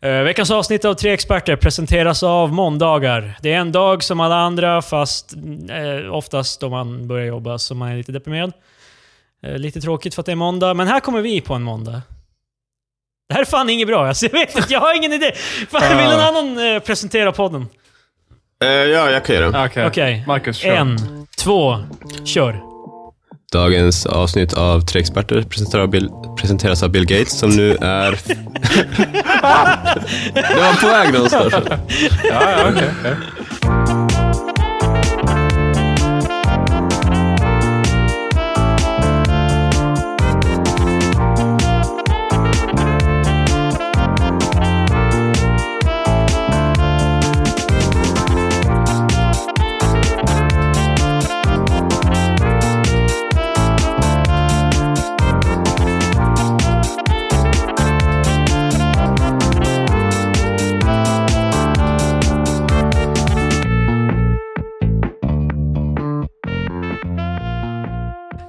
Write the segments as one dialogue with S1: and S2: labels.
S1: Eh, veckans avsnitt av Tre Experter presenteras av måndagar. Det är en dag som alla andra, fast eh, oftast då man börjar jobba så man är lite deprimerad. Eh, lite tråkigt för att det är måndag, men här kommer vi på en måndag. Det här är fan inget bra, alltså, jag vet inte, jag har ingen idé. Fan, vill någon annan eh, presentera podden?
S2: Eh, ja, jag kan göra det.
S3: Okej.
S1: Okej.
S3: Marcus, kör.
S1: En, två, kör.
S2: Dagens avsnitt av Tre Experter presenterar av Bill, presenteras av Bill Gates som nu är... det var på väg någonstans.
S3: Ja, ja, okej, okej.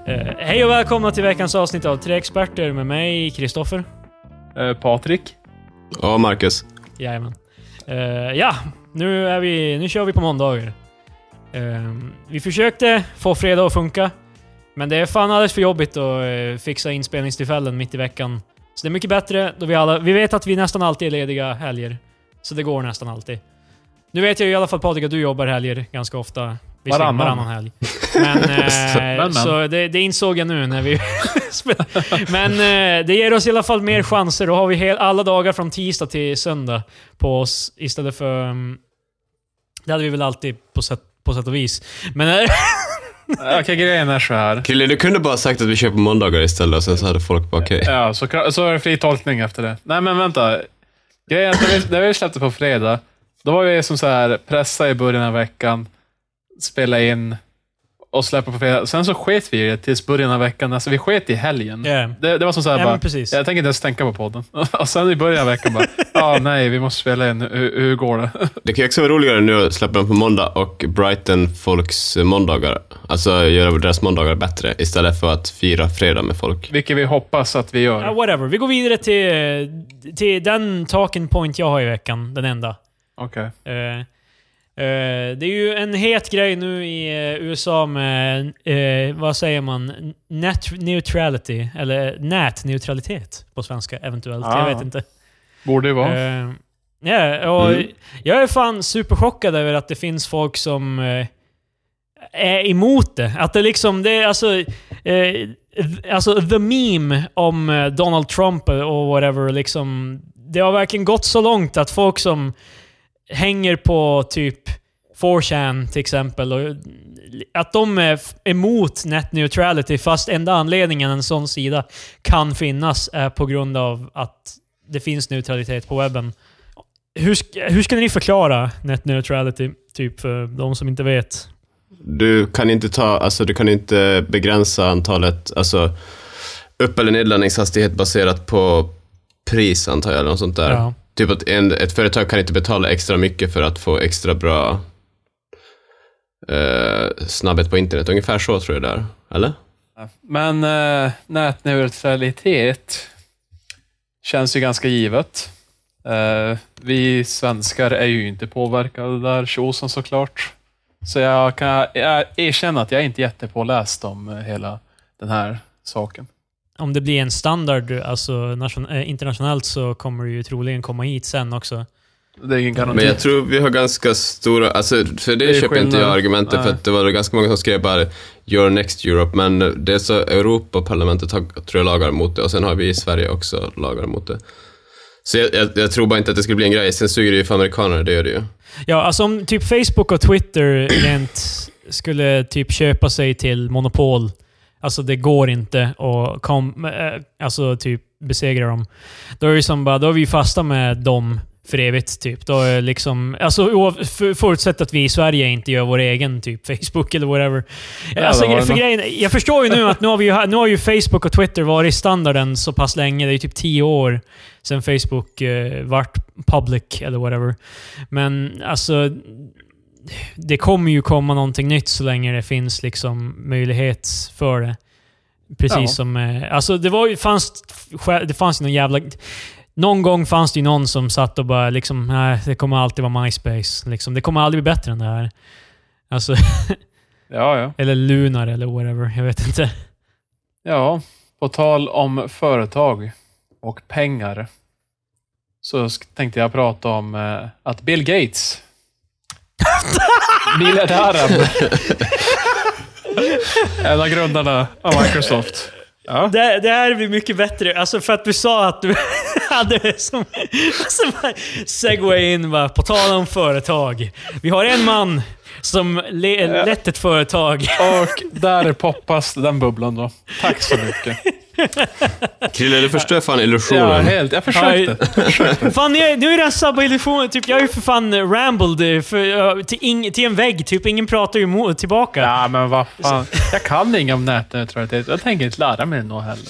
S1: Eh, hej och välkomna till veckans avsnitt av Tre Experter med mig, Kristoffer.
S3: Eh, Patrik.
S2: Ja, Marcus.
S1: Jajamän. Eh, ja, nu, är vi, nu kör vi på måndagar. Eh, vi försökte få fredag att funka, men det är fan alldeles för jobbigt att eh, fixa inspelningstillfällen mitt i veckan. Så det är mycket bättre då vi alla... Vi vet att vi nästan alltid är lediga helger, så det går nästan alltid. Nu vet jag ju i alla fall Patrik att du jobbar helger ganska ofta. Visserligen
S3: Varannan.
S1: varannan helg. Men, eh,
S3: men.
S1: Så det, det insåg jag nu när vi spelade. Men eh, det ger oss i alla fall mer chanser. Då har vi hel, alla dagar från tisdag till söndag på oss istället för... mm, Det hade vi väl alltid på sätt, på sätt och vis. Men eh,
S3: Okej, grejen är så här.
S2: Krille, du kunde bara sagt att vi kör på måndagar istället och sen så hade folk bara okej.
S3: Ja, så, kra- så är det fri tolkning efter det. Nej, men vänta. Grejen är att när vi, när vi släppte på fredag, då var vi som så här pressa i början av veckan, spela in och släppa på fredag. Sen så sket vi i det tills början av veckan. Alltså, vi sket i helgen.
S1: Ja.
S3: Det, det var som så här
S1: Ja,
S3: bara,
S1: men precis.
S3: jag tänker inte ens tänka på podden. och sen i början av veckan bara, ja, nej, vi måste spela in. Hur, hur går det?
S2: Det kan ju också vara roligare nu att släppa dem på måndag och Brighton folks måndagar. Alltså göra deras måndagar bättre istället för att fira fredag med folk.
S3: Vilket vi hoppas att vi
S1: ja,
S3: gör.
S1: whatever. Vi går vidare till, eh, till den talking point jag har i veckan. Den enda.
S3: Okej.
S1: Eh, eh, det är ju en het grej nu i eh, USA med, eh, vad säger man, net neutrality, eller nätneutralitet på svenska eventuellt.
S3: Ah.
S1: Jag vet inte.
S3: Borde ju vara.
S1: Eh, ja, och
S2: Mm.
S1: Jag är fan superchockad över att det finns folk som eh, är emot det. Att det liksom, det är alltså... Eh, th- alltså the meme om eh, Donald Trump och whatever, liksom. Det har verkligen gått så långt att folk som hänger på typ 4chan till exempel, och att de är f- emot net neutrality fast enda anledningen en sån sida kan finnas är på grund av att det finns neutralitet på webben. Hur, sk- hur ska ni förklara net neutrality, typ för de som inte vet?
S2: Du kan inte ta, alltså du kan inte begränsa antalet, alltså upp eller nedladdningshastighet baserat på pris antar jag, eller något sånt där.
S1: Ja.
S2: Typ att en, ett företag kan inte betala extra mycket för att få extra bra eh, snabbhet på internet. Ungefär så tror jag det är, eller?
S3: Men eh, nätneutralitet känns ju ganska givet. Eh, vi svenskar är ju inte påverkade av det där tjosan såklart. Så jag kan jag erkänna att jag är inte jättepåläst om eh, hela den här saken.
S1: Om det blir en standard alltså, nation- eh, internationellt så kommer det ju troligen komma hit sen också.
S3: Det är ingen garanti.
S2: Men jag tror vi har ganska stora, alltså för det,
S3: Det är
S2: köper inte jag
S3: skillnad.
S2: argumentet för
S3: Nej.
S2: att det var ganska många som skrev bara “Your next Europe” men det är så Europaparlamentet har, tror jag lagar mot det och sen har vi i Sverige också lagar mot det. Så jag, jag, jag tror bara inte att det skulle bli en grej. Sen suger det ju för amerikaner, det gör det ju.
S1: Ja, alltså om typ Facebook och Twitter rent skulle typ köpa sig till monopol. Alltså det går inte att kom, eh, alltså typ besegra dem. Då är det som bara, då är vi fasta med dem för evigt. Typ. Då är det liksom, alltså, oav- för- förutsatt att vi i Sverige inte gör vår egen typ Facebook eller whatever.
S3: Ja,
S1: alltså,
S3: det var
S1: för
S3: det.
S1: grejen, jag förstår ju nu att nu har, vi ju, nu har ju Facebook och Twitter varit standarden så pass länge. Det är ju typ tio år sedan Facebook eh, vart public eller whatever. Men alltså, det kommer ju komma någonting nytt så länge det finns liksom möjlighet för det. Precis
S3: Ja.
S1: som... eh, Alltså det var ju, fanns, det fanns ju någon jävla... Någon gång fanns det ju någon som satt och bara liksom, nej, det kommer alltid vara MySpace. Liksom. Det kommer aldrig bli bättre än det här. Alltså,
S3: Ja, ja.
S1: eller Lunar eller whatever. Jag vet inte.
S3: Ja, på tal om företag och pengar så sk- tänkte jag prata om eh, att Bill Gates, miljardären, en av grundarna av Microsoft. Ja.
S1: Det, det här blir mycket bättre. Alltså för att du sa att du hade som... Alltså bara segway in bara, på tal om företag. Vi har en man som le, lett ett företag.
S3: Och där poppas den bubblan då. Tack så mycket.
S2: Krille, du förstör fan
S3: Ja,
S2: illusionen.
S3: helt. Jag försökte.
S1: Fan, jag, nu är det en sabba illusionen. Typ, jag är ju för fan rambled eh, för, eh, till, ing, till en vägg. Typ, ingen pratar ju mo- tillbaka.
S3: Ja, men vad fan. Jag kan inget om nätneutralitet. Jag tänker inte lära mig något heller.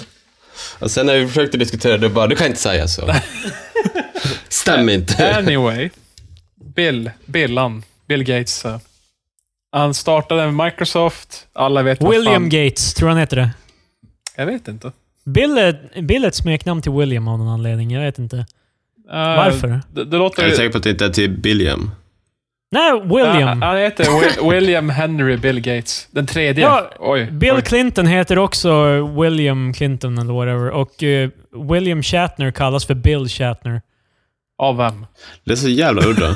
S2: Och sen när vi försökte diskutera det, bara du kan inte säga så. Stämmer inte.
S3: Anyway. Bill, Billan, Bill Gates. eh, Han startade med Microsoft. Alla vet vad
S1: William
S3: fan.
S1: Gates, tror han heter det.
S3: Jag vet inte. Eh,
S1: Bill är, Bill är ett smeknamn till William av någon anledning. Jag vet inte. Varför?
S3: Eh, Det, det låter...
S2: Är du säker på att det inte är till Billiam?
S1: Nej, William.
S3: Ja, han heter Wi- William Henry Bill Gates. Den tredje.
S1: Ja,
S3: oj.
S1: Bill
S3: oj.
S1: Clinton heter också William Clinton eller whatever. Och eh, William Shatner kallas för Bill Shatner.
S3: Av vem?
S2: Det är så jävla udda.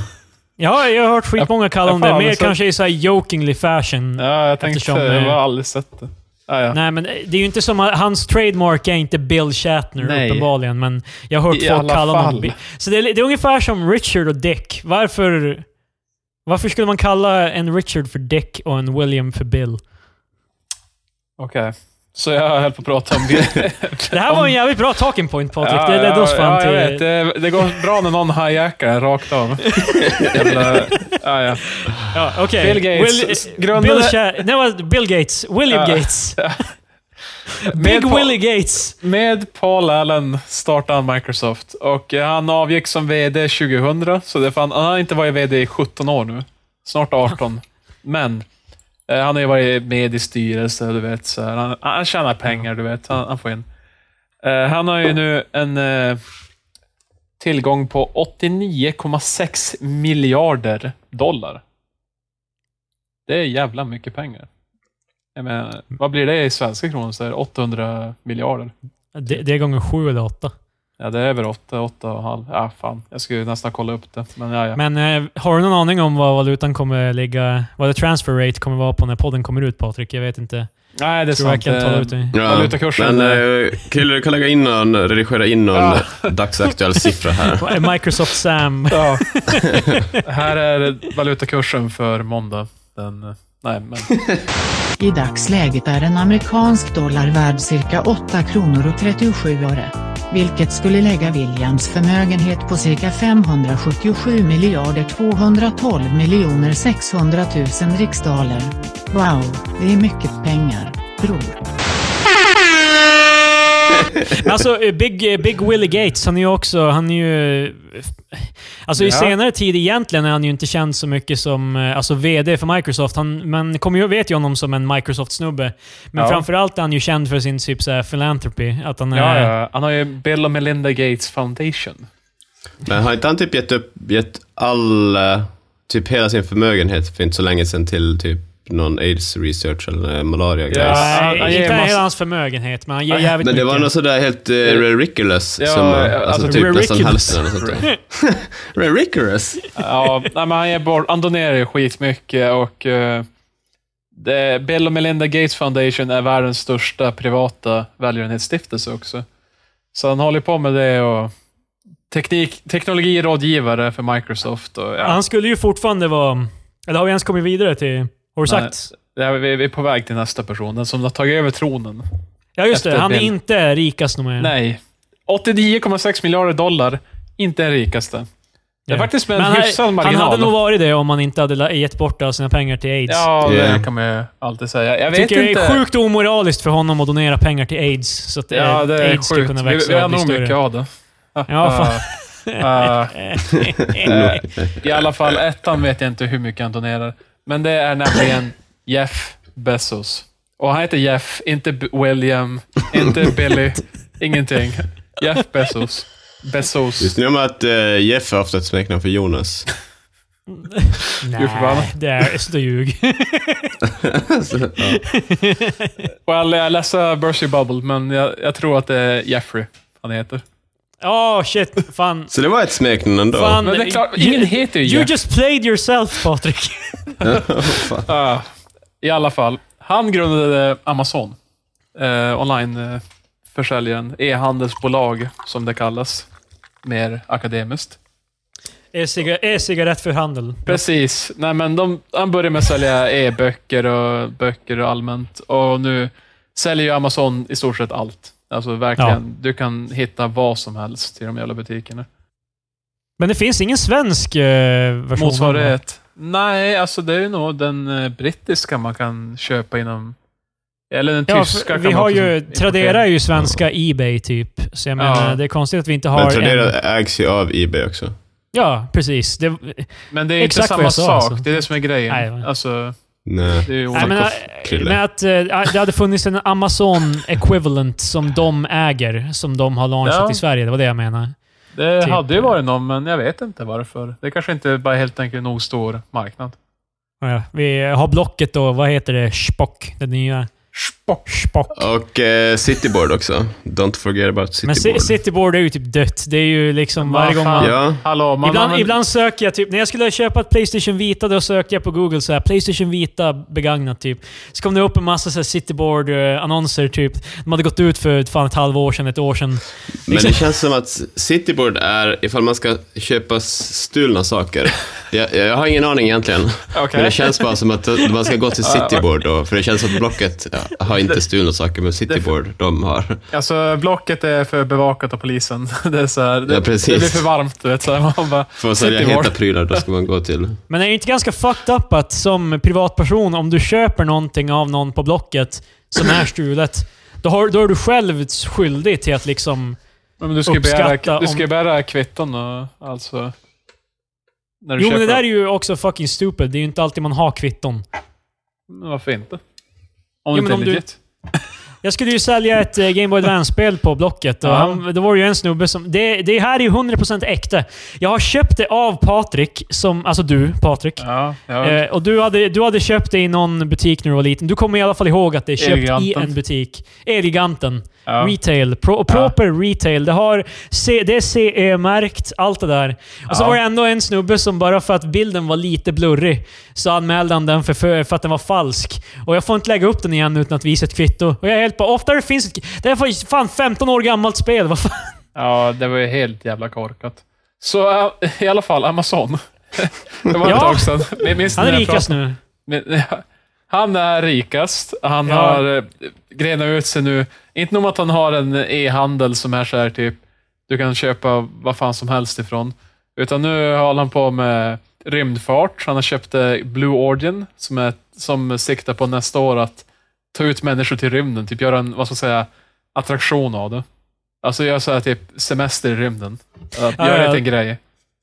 S1: Ja, jag har hört skitmånga kalla
S3: ja,
S1: om
S3: fan,
S1: det. Mer
S3: men så-
S1: kanske i så här jokingly fashion.
S3: Ja, jag tänkte...
S1: Eftersom, eh,
S3: jag har aldrig sett det. Ja, ja.
S1: Nej, men eh, det är ju inte som att hans trademark är inte Bill Shatner
S3: Nej.
S1: uppenbarligen, men jag har hört
S3: I
S1: folk
S3: alla
S1: kalla honom
S3: fall.
S1: Bi- Så det är, det är ungefär som Richard och Dick. Varför, varför skulle man kalla en Richard för Dick och en William för Bill?
S3: Okej. Så jag höll på att prata om Bill.
S1: Det här var en jävligt bra talking point, Patrik.
S3: Ja,
S1: det ledde oss fram
S3: ja, jag
S1: till...
S3: vet. Det, det går bra när någon hijackar rakt av. Jävla, ja, ja.
S1: Ja, Ah, okej.
S3: Bill Gates s- grundade- Ah.
S1: Bill, Sha- nej, vad- Bill Gates. William
S3: Ja.
S1: Gates.
S3: Med
S1: Big
S3: Paul-
S1: Willie Gates.
S3: Med Paul Allen startade han Microsoft och eh, han avgick som VD 2000, så det fan, han har inte varit VD i 17 år nu. Snart 18. Men eh, han har ju varit med i styrelse, du vet. Så här. Han, han tjänar pengar, du vet. Han, han får in. Eh, han har ju nu en eh, tillgång på 89,6 miljarder dollar. Det är jävla mycket pengar. Jag menar, vad blir det i svenska kronor? Så är det 800 miljarder.
S1: Det, det är gånger sju eller åtta.
S3: Ja, det är över åtta, åtta och en halv. Ja, fan. Jag skulle nästan kolla upp det. Men ja, ja.
S1: Men eh, har du någon aning om vad valutan kommer ligga... Vad det transfer rate kommer vara på när podden kommer ut, Patrik? Jag vet inte.
S3: Nej, det är
S1: tror jag
S3: sant.
S1: kan tala ut
S3: Eh,
S1: det.
S3: Valutakursen,
S2: Men eh, Krille, du kan lägga in någon, redigera in någon
S3: Ja.
S2: dagsaktuell siffra här.
S1: Microsoft Sam.
S3: Ja. Här är valutakursen för måndag. Den, eh, nej, men
S4: I dagsläget är en amerikansk dollar värd cirka 8 kronor och 37 öre. Vilket skulle lägga Williams förmögenhet på cirka 577 miljarder 212 miljoner 600 000 riksdaler. Wow, det är mycket pengar, bror.
S1: Alltså, eh, Big, eh, Big Willie Gates, han är ju också... Han är ju... eh, Alltså i
S3: Ja.
S1: senare tid egentligen är han ju inte känd så mycket som eh, alltså, VD för Microsoft. Han, man kommer ju, vet ju honom som en Microsoft-snubbe. Men
S3: Ja.
S1: framförallt är han ju känd för sin typ så här, philanthropy. Att han är,
S3: ja, ja. Han har ju Bill och Melinda Gates Foundation.
S2: Men har inte han typ gett upp, gett all, eh, typ hela sin förmögenhet för inte så länge sedan till typ någon aids research eller malaria
S3: Ja,
S2: grejs
S1: Nej,
S3: han- han ger
S1: inte
S3: massa-
S1: hela hans förmögenhet, men han ger
S3: Nej,
S1: jävligt
S2: Men det var
S1: mycket.
S2: något sådär helt uh, ridiculous,
S3: Ja,
S2: som, eh,
S3: ja,
S2: alltså,
S3: alltså,
S2: typ nästan
S1: ridiculous.
S2: hälften eller sånt där. Ridiculous?
S3: Ja, nej, men han, ger bort, han donerar ju skitmycket och eh, det, Bill och Melinda Gates Foundation är världens största privata välgörenhetsstiftelse också. Så han håller på med det och teknik, teknologirådgivare för Microsoft. Och, ja,
S1: Han skulle ju fortfarande vara... Eller har vi ens kommit vidare till... Har du
S3: Nej.
S1: sagt?
S3: det här, vi, vi är på väg till nästa person, den som har tagit över tronen.
S1: Ja, just det.
S3: Efter
S1: Han är
S3: Bill.
S1: inte rikast nog mer.
S3: Nej, 89,6 miljarder dollar. Inte den rikaste. Det är
S1: Ja.
S3: faktiskt med en
S1: Men han,
S3: hyfsad marginal.
S1: han hade nog varit det om han inte hade la- gett bort alla sina pengar till aids.
S3: Ja,
S2: Yeah.
S3: det kan man ju alltid säga. Jag vet
S1: Tycker det
S3: inte.
S1: är sjukt omoraliskt för honom att donera pengar till aids. Så att eh,
S3: Ja, det är
S1: aids ska
S3: sjukt.
S1: kunna
S3: Vi,
S1: växa
S3: vi har
S1: och bli
S3: nog
S1: större.
S3: mycket av det. Ah.
S1: Ja, fan.
S3: Eh, eh, I alla fall, ettan vet jag inte hur mycket han donerar. Men det är nämligen Jeff Bezos. Och han heter Jeff, inte B- William, inte Billy, ingenting. Jeff Bezos. Bezos.
S2: Visste ni om att eh, Jeff har haft ett smeknamn för Jonas?
S3: Gud förbannat.
S1: Nej, det är så ljug.
S2: Så, ja.
S3: Well, jag läste Bursty Bubble, men jag, jag tror att det är Jeffrey han heter.
S1: Åh, shit. Fan.
S2: Så det var ett smeknamn ändå.
S1: Fan.
S3: Men det är klart, ingen heter ju
S1: You
S3: Jeff.
S1: just played yourself, Patrik.
S2: Fan.
S3: Ah, I alla fall, han grundade Amazon. Eh, Onlineförsäljaren. E-handelsbolag, som det kallas. Mer akademiskt.
S1: E-ciga- E-cigarett för handel.
S3: Precis. Nej, men de, han började med att sälja e-böcker och böcker och allmänt. Och nu säljer ju Amazon i stort sett allt. Alltså verkligen, du kan hitta vad som helst i de jävla butikerna.
S1: Men det finns ingen svensk eh, version. av
S3: Motsvarighet? Nej, alltså det är ju nog den eh, brittiska man kan köpa inom... Eller den
S1: det. Ja,
S3: tyska
S1: för,
S3: kan
S1: vi
S3: man
S1: har
S3: också
S1: ju,
S3: importera.
S1: Tradera är ju svenska Ebay typ. Så jag menar,
S3: Ja.
S1: det är konstigt att vi inte har
S2: Men Tradera
S1: en...
S2: ägs ju av Ebay också.
S1: Ja, precis. Det,
S3: Men det är inte
S1: Exakt vad
S3: samma
S1: jag sa,
S3: sak.
S1: alltså.
S3: Det är det som är grejen.
S1: Nej, men-
S3: Alltså,
S2: Nej.
S3: det är
S1: Nej,
S3: ju olika.
S1: men,
S2: off,
S1: äh,
S2: Krille.
S1: men att eh, det hade funnits en Amazon equivalent som de äger, som de har launchat
S3: Ja.
S1: i Sverige. Det var det jag menade.
S3: det
S1: typ-
S3: hade ju varit någon, men jag vet inte varför. Det kanske inte bara helt enkelt är en nog stor marknad.
S1: Ja, vi har Blocket då. Vad heter det? Spock. Det nya. Spock.
S2: Och eh, Cityboard också. Don't forget about
S1: Men Ci-
S2: Cityboard.
S1: Cityboard är ju typ dött. Det är ju liksom
S3: Vad
S1: varje gång
S3: fan?
S1: man...
S2: ja.
S3: Hallå, man
S1: Ibland,
S3: använder-
S1: ibland söker jag typ... När jag skulle köpa ett Playstation Vita, då sökte jag på Google så här Playstation Vita begagnat typ. Så kom det upp en massa så här Cityboard-annonser typ. De hade gått ut för fan ett halvår sedan, ett år sedan.
S2: Men det känns som att Cityboard är ifall man ska köpa stulna saker. Jag, jag har ingen aning egentligen.
S3: Okej.
S2: Men det känns bara som att man ska gå till Cityboard då, för det känns att Blocket ja, har inte stulna saker, men Cityboard, de har.
S3: Alltså, blocket är för bevakat av polisen. Det, är så här, det,
S2: Ja,
S3: det
S2: precis.
S3: blir för varmt, du vet. Så här, man bara,
S2: För att sälja
S3: City Ward.
S2: heta prylar, då ska man gå till...
S1: Men är det inte ganska fucked up att som privatperson, om du köper någonting av någon på Blocket som är stulet, då, har, då är du själv skyldig till att liksom...
S3: Men du ska ju
S1: Uppskatta
S3: begära, du
S1: om-
S3: ska ju begära kvitton och alltså... När du
S1: Jo, men det
S3: köper
S1: där är ju också fucking stupid. Det är ju inte alltid man har kvitton.
S3: Men Varför inte? Om
S1: Jo,
S3: det
S1: men
S3: inte är
S1: om du-
S3: legit.
S1: Jag skulle ju sälja ett eh, Game Boy Advance-spel på Blocket och
S3: Ja.
S1: han, det var ju en snubbe som... Det, det här är ju 100% äkta. Jag har köpt det av Patrik, som, alltså du, Patrik.
S3: Ja, ja.
S1: Eh, och du hade, du hade köpt det i någon butik när du var liten. Du kommer i alla fall ihåg att det är köpt i
S3: Elgiganten.
S1: en butik. Eleganten.
S3: ja.
S1: Retail. Pro, och proper retail. Det, har C, det är CE-märkt, allt det där. Och så
S3: Ja.
S1: var det ändå en snubbe som bara för att bilden var lite blurrig så anmälde han den för, för, för att den var falsk. Och jag får inte lägga upp den igen utan att visa ett kvitto. Och jag är helt på ofta det finns ett, Det här är fan 15 år gammalt spel. Vad fan?
S3: ja, det var ju helt jävla korkat. Så äh, i alla fall, Amazon. det var
S1: Ja.
S3: ett tag sedan. Men minns ni
S1: Han är
S3: när jag
S1: rikast nu.
S3: pratade- Men, ja, Han är rikast. Han
S1: Ja.
S3: har eh, grenat ut sig nu. Inte nog med att han har en e-handel som är så här typ, du kan köpa vad fan som helst ifrån. Utan nu håller han på med rymdfart. Han har köpt eh, Blue Origin som, är, som siktar på nästa år att ta ut människor till rymden. Typ göra en, vad ska jag säga, attraktion av det. Alltså göra så här typ semester i rymden. Att
S1: Ja,
S3: göra
S1: ja.
S3: det till en grej.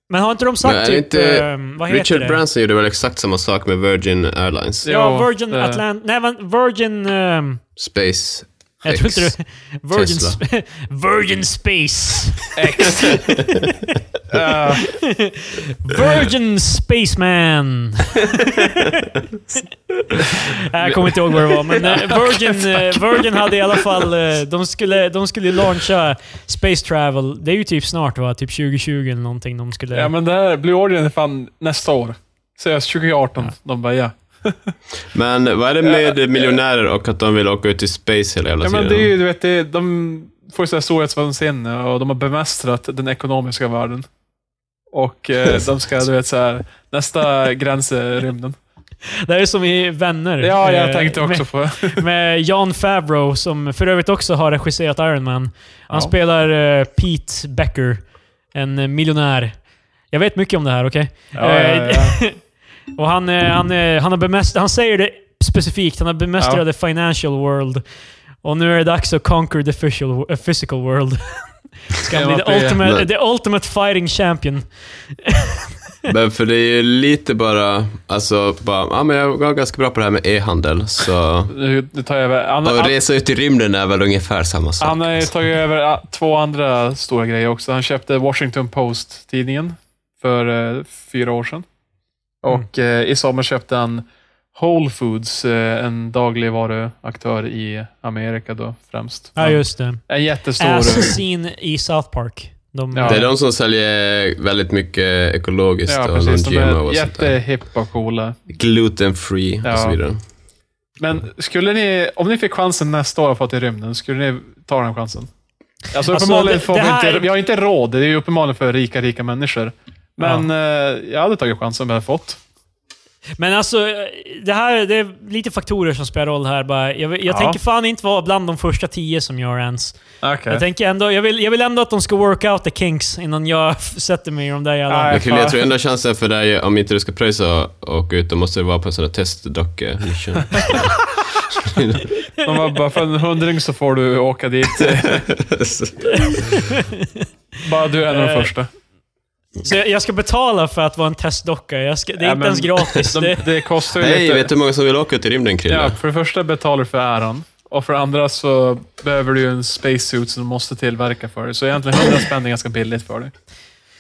S1: Men har inte de sagt
S2: Men är det
S1: typ...
S2: inte
S1: ehm, vad heter
S2: Richard
S1: det?
S2: Branson gjorde väl exakt samma sak med Virgin Airlines?
S1: Ja,
S3: Jo,
S1: Virgin
S2: Eh.
S3: det-
S1: Atlant... Nej, men Virgin... ehm,
S2: Space
S1: jag tror inte det... Virgin,
S2: Tesla.
S1: sp- Virgin Space.
S3: X. Eh,
S1: Virgin Spaceman! Nej, jag kommer inte ihåg vad det var, men eh, Virgin, eh, Virgin hade i alla fall... eh, De skulle, de skulle launcha Space Travel. Det är ju typ snart va? Typ 2020 eller någonting de skulle...
S3: Ja, men det här Blue Origin är fan nästa år. Seriöst, 2018. De bara, ja.
S2: Men vad är det med miljonärer och att de vill åka ut i space hela jävla
S3: Alltså, ja men det
S2: tiden?
S3: är ju, du vet, det är, de får ju så här storhetsvansinne och de har bemästrat den ekonomiska världen. Och eh, de ska, du vet, så här, nästa gräns är rymden.
S1: Det är som i Vänner.
S3: Ja, jag
S1: eh,
S3: tänkte också
S1: Med,
S3: på
S1: med Jon Favreau, som för övrigt också har regisserat Iron Man. Han
S3: Ja.
S1: spelar eh, Pete Becker, en eh, miljonär. Jag vet mycket om det här, okej?
S3: ja, ja, ja.
S1: Och han, eh, han, eh, han, har bemäst, han säger det specifikt, han har bemästrat
S3: Ja.
S1: the financial world. Och nu är det dags att conquer the physical, eh, physical world. Ska han bli
S3: Genom att
S1: the
S3: bli-
S1: ultimate,
S2: Men-
S1: the ultimate fighting champion.
S2: Men för det är ju lite bara, alltså, bara, ja men jag var ganska bra på det här med e-handel, så...
S3: Nu nu tar jag över. Han,
S2: Att
S3: han,
S2: resa ut i rymden är väl ungefär samma sak.
S3: han har ju tagit över ah, två andra stora grejer också. Han köpte Washington Post-tidningen för eh, fyra år sedan. Och eh, i sommar köpte han Whole Foods, eh, en dagligvaruaktör i Amerika då främst.
S1: Ja, just Äh, det.
S3: En jättestor...
S1: Assassin i South Park. De,
S3: Ja.
S2: Det är de som säljer väldigt mycket ekologiskt
S3: Ja,
S2: och
S3: precis.
S2: någon
S3: De
S2: GMO
S3: är
S2: och sånt där.
S3: jättehippa och coola.
S2: Gluten free och
S3: Ja.
S2: så vidare.
S3: Men skulle ni, om ni fick chansen nästa år för att i rymden, skulle ni ta den chansen? Alltså,
S1: Alltså,
S3: uppenbarligen
S1: det-
S3: får
S1: det
S3: vi
S1: här-
S3: inte, vi har inte råd. Det är ju uppenbarligen för rika, rika människor. Men eh, jag hade tagit chansen om jag hade fått.
S1: Men alltså, det här det är lite faktorer som spelar roll här. Bara, jag jag
S3: Ja.
S1: tänker fan inte vara bland de första tio som gör ens.
S3: Okej.
S1: Jag, tänker ändå, jag, vill, jag vill ändå att de ska work out the kinks innan jag f- sätter mig i de där jävla...
S3: Nej,
S2: Jag, skulle, jag
S3: fan.
S2: tror enda chansen för dig, om inte du ska pröjsa och åka ut, då måste du vara på en sån där testdocka mission.
S3: De var bara, för en hundring så får du åka dit. bara du är en av de
S1: Eh,
S3: första.
S1: Så jag, jag ska betala för att vara en testdocka. Jag ska, det är
S3: Ja,
S1: inte
S3: men-
S1: ens gratis.
S3: De,
S1: det,
S3: det kostar ju
S2: Nej,
S3: lite.
S2: vet du hur många som vill åka ut i rymden, Chrille?
S3: Ja, för det första betalar du för äran. Och för det andra så behöver du ju en spacesuit som du måste tillverka för dig. Så egentligen 100 spänn är ganska billigt för dig.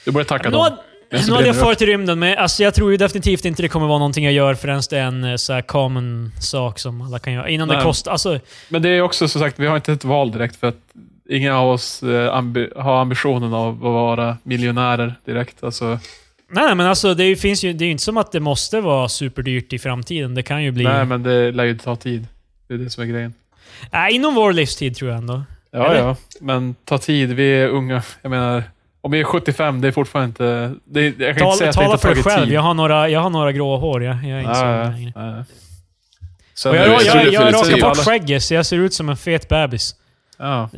S3: Du borde tacka
S1: nu,
S3: dem.
S1: hade-
S3: Jag ska
S1: nu hade jag
S3: brinna upp.
S1: farit i rymden, men alltså, jag tror ju definitivt inte det kommer vara någonting jag gör förrän det är en eh, så här common sak som alla kan göra. Innan det
S3: Nej.
S1: kostar... Alltså,
S3: Men det är också som sagt, vi har inte ett val direkt för att ingen av oss eh, ambi- har ambitionen av att vara miljonärer direkt. Alltså,
S1: nej, nej, men alltså, det är ju- finns ju, det är ju inte som att det måste vara superdyrt i framtiden. Det kan ju bli...
S3: nej, men det lär ju ta tid. Det är det som är grejen.
S1: Nej, inom vår livstid tror jag ändå.
S3: Ja,
S1: Eller?
S3: ja. Men ta tid. Vi är unga. Jag menar, om vi är 75, det är fortfarande inte... Det, är- jag kan inte säga
S1: Tala,
S3: att det inte
S1: tala
S3: har
S1: för dig
S3: tagit
S1: själv.
S3: tid.
S1: Jag har, några, jag har några grå hår. Jag, jag är inte så
S3: Ja, ja,
S1: längre.
S3: ja.
S1: Och
S3: Sen-
S1: jag
S2: jag
S1: jag,
S2: tror
S1: jag,
S2: det
S1: jag
S2: finns
S1: rakar
S2: tid.
S1: bort skägget, så jag ser ut som en fet bebis.
S3: Ja.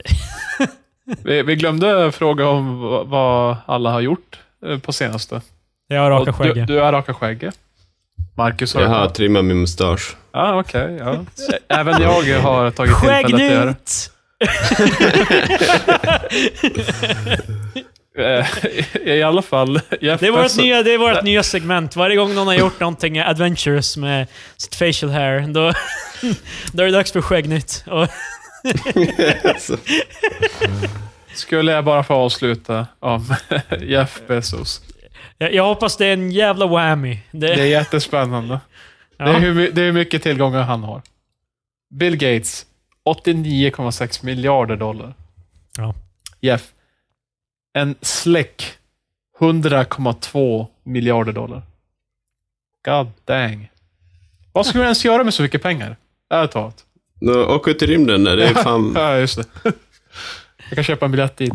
S3: vi, vi glömde fråga om v- vad alla har gjort eh, på senaste.
S1: Jag rakar
S3: Och du,
S1: skägget.
S3: du har rakat skägget. Marcus har
S2: Jag har trimmat min mustasch.
S3: Ja, Ah, okej. ja. Även jag har tagit tillfället att göra
S1: Skäggnut!
S3: Eh, I alla fall, Jeff
S1: Det är vårt,
S3: Bezos-
S1: nya, det är vårt nya segment. Varje gång någon har gjort någonting adventurous med sitt facial hair, då, då är det dags för skäggnytt. Och,
S3: skulle jag bara få avsluta om Jeff Bezos.
S1: jag, jag hoppas det är en jävla whammy.
S3: Det
S1: Det,
S3: är jättespännande.
S1: ja.
S3: Det, är hur, my- det är hur mycket tillgångar han har. Bill Gates, 89,6 miljarder dollar.
S1: Ja.
S3: Jeff, en släck, 100,2 miljarder dollar. God dang. Vad skulle man ens göra med så mycket pengar? Ärligt talat.
S2: Nå, Åka ut i rymden, det är fan...
S3: Ja, just det. Jag kan köpa en biljett dit.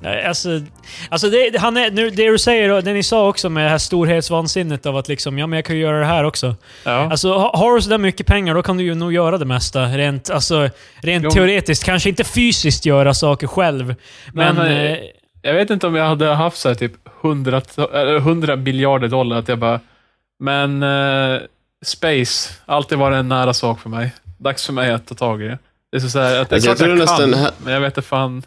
S1: Nej, Alltså, alltså det, det- han är, nu, det du säger och det ni sa också med det här storhetsvansinnet av att liksom, ja men jag kan ju göra det här också.
S3: Ja.
S1: Alltså ha- har du sådär mycket pengar då kan du ju nog göra det mesta. Rent, alltså, rent
S3: Jo.
S1: teoretiskt. Kanske inte fysiskt göra saker själv. Men...
S3: men-
S1: eh,
S3: Jag vet inte om jag hade haft så här typ 100, to- eller 100 miljarder dollar, att jag bara... Men eh, space, alltid varit en nära sak för mig. Dags för mig att ta tag i det. Det är så här att det är
S2: Alltså, jag
S3: klart jag,
S2: tror
S3: kan,
S2: nästan här-
S3: men jag vet inte fan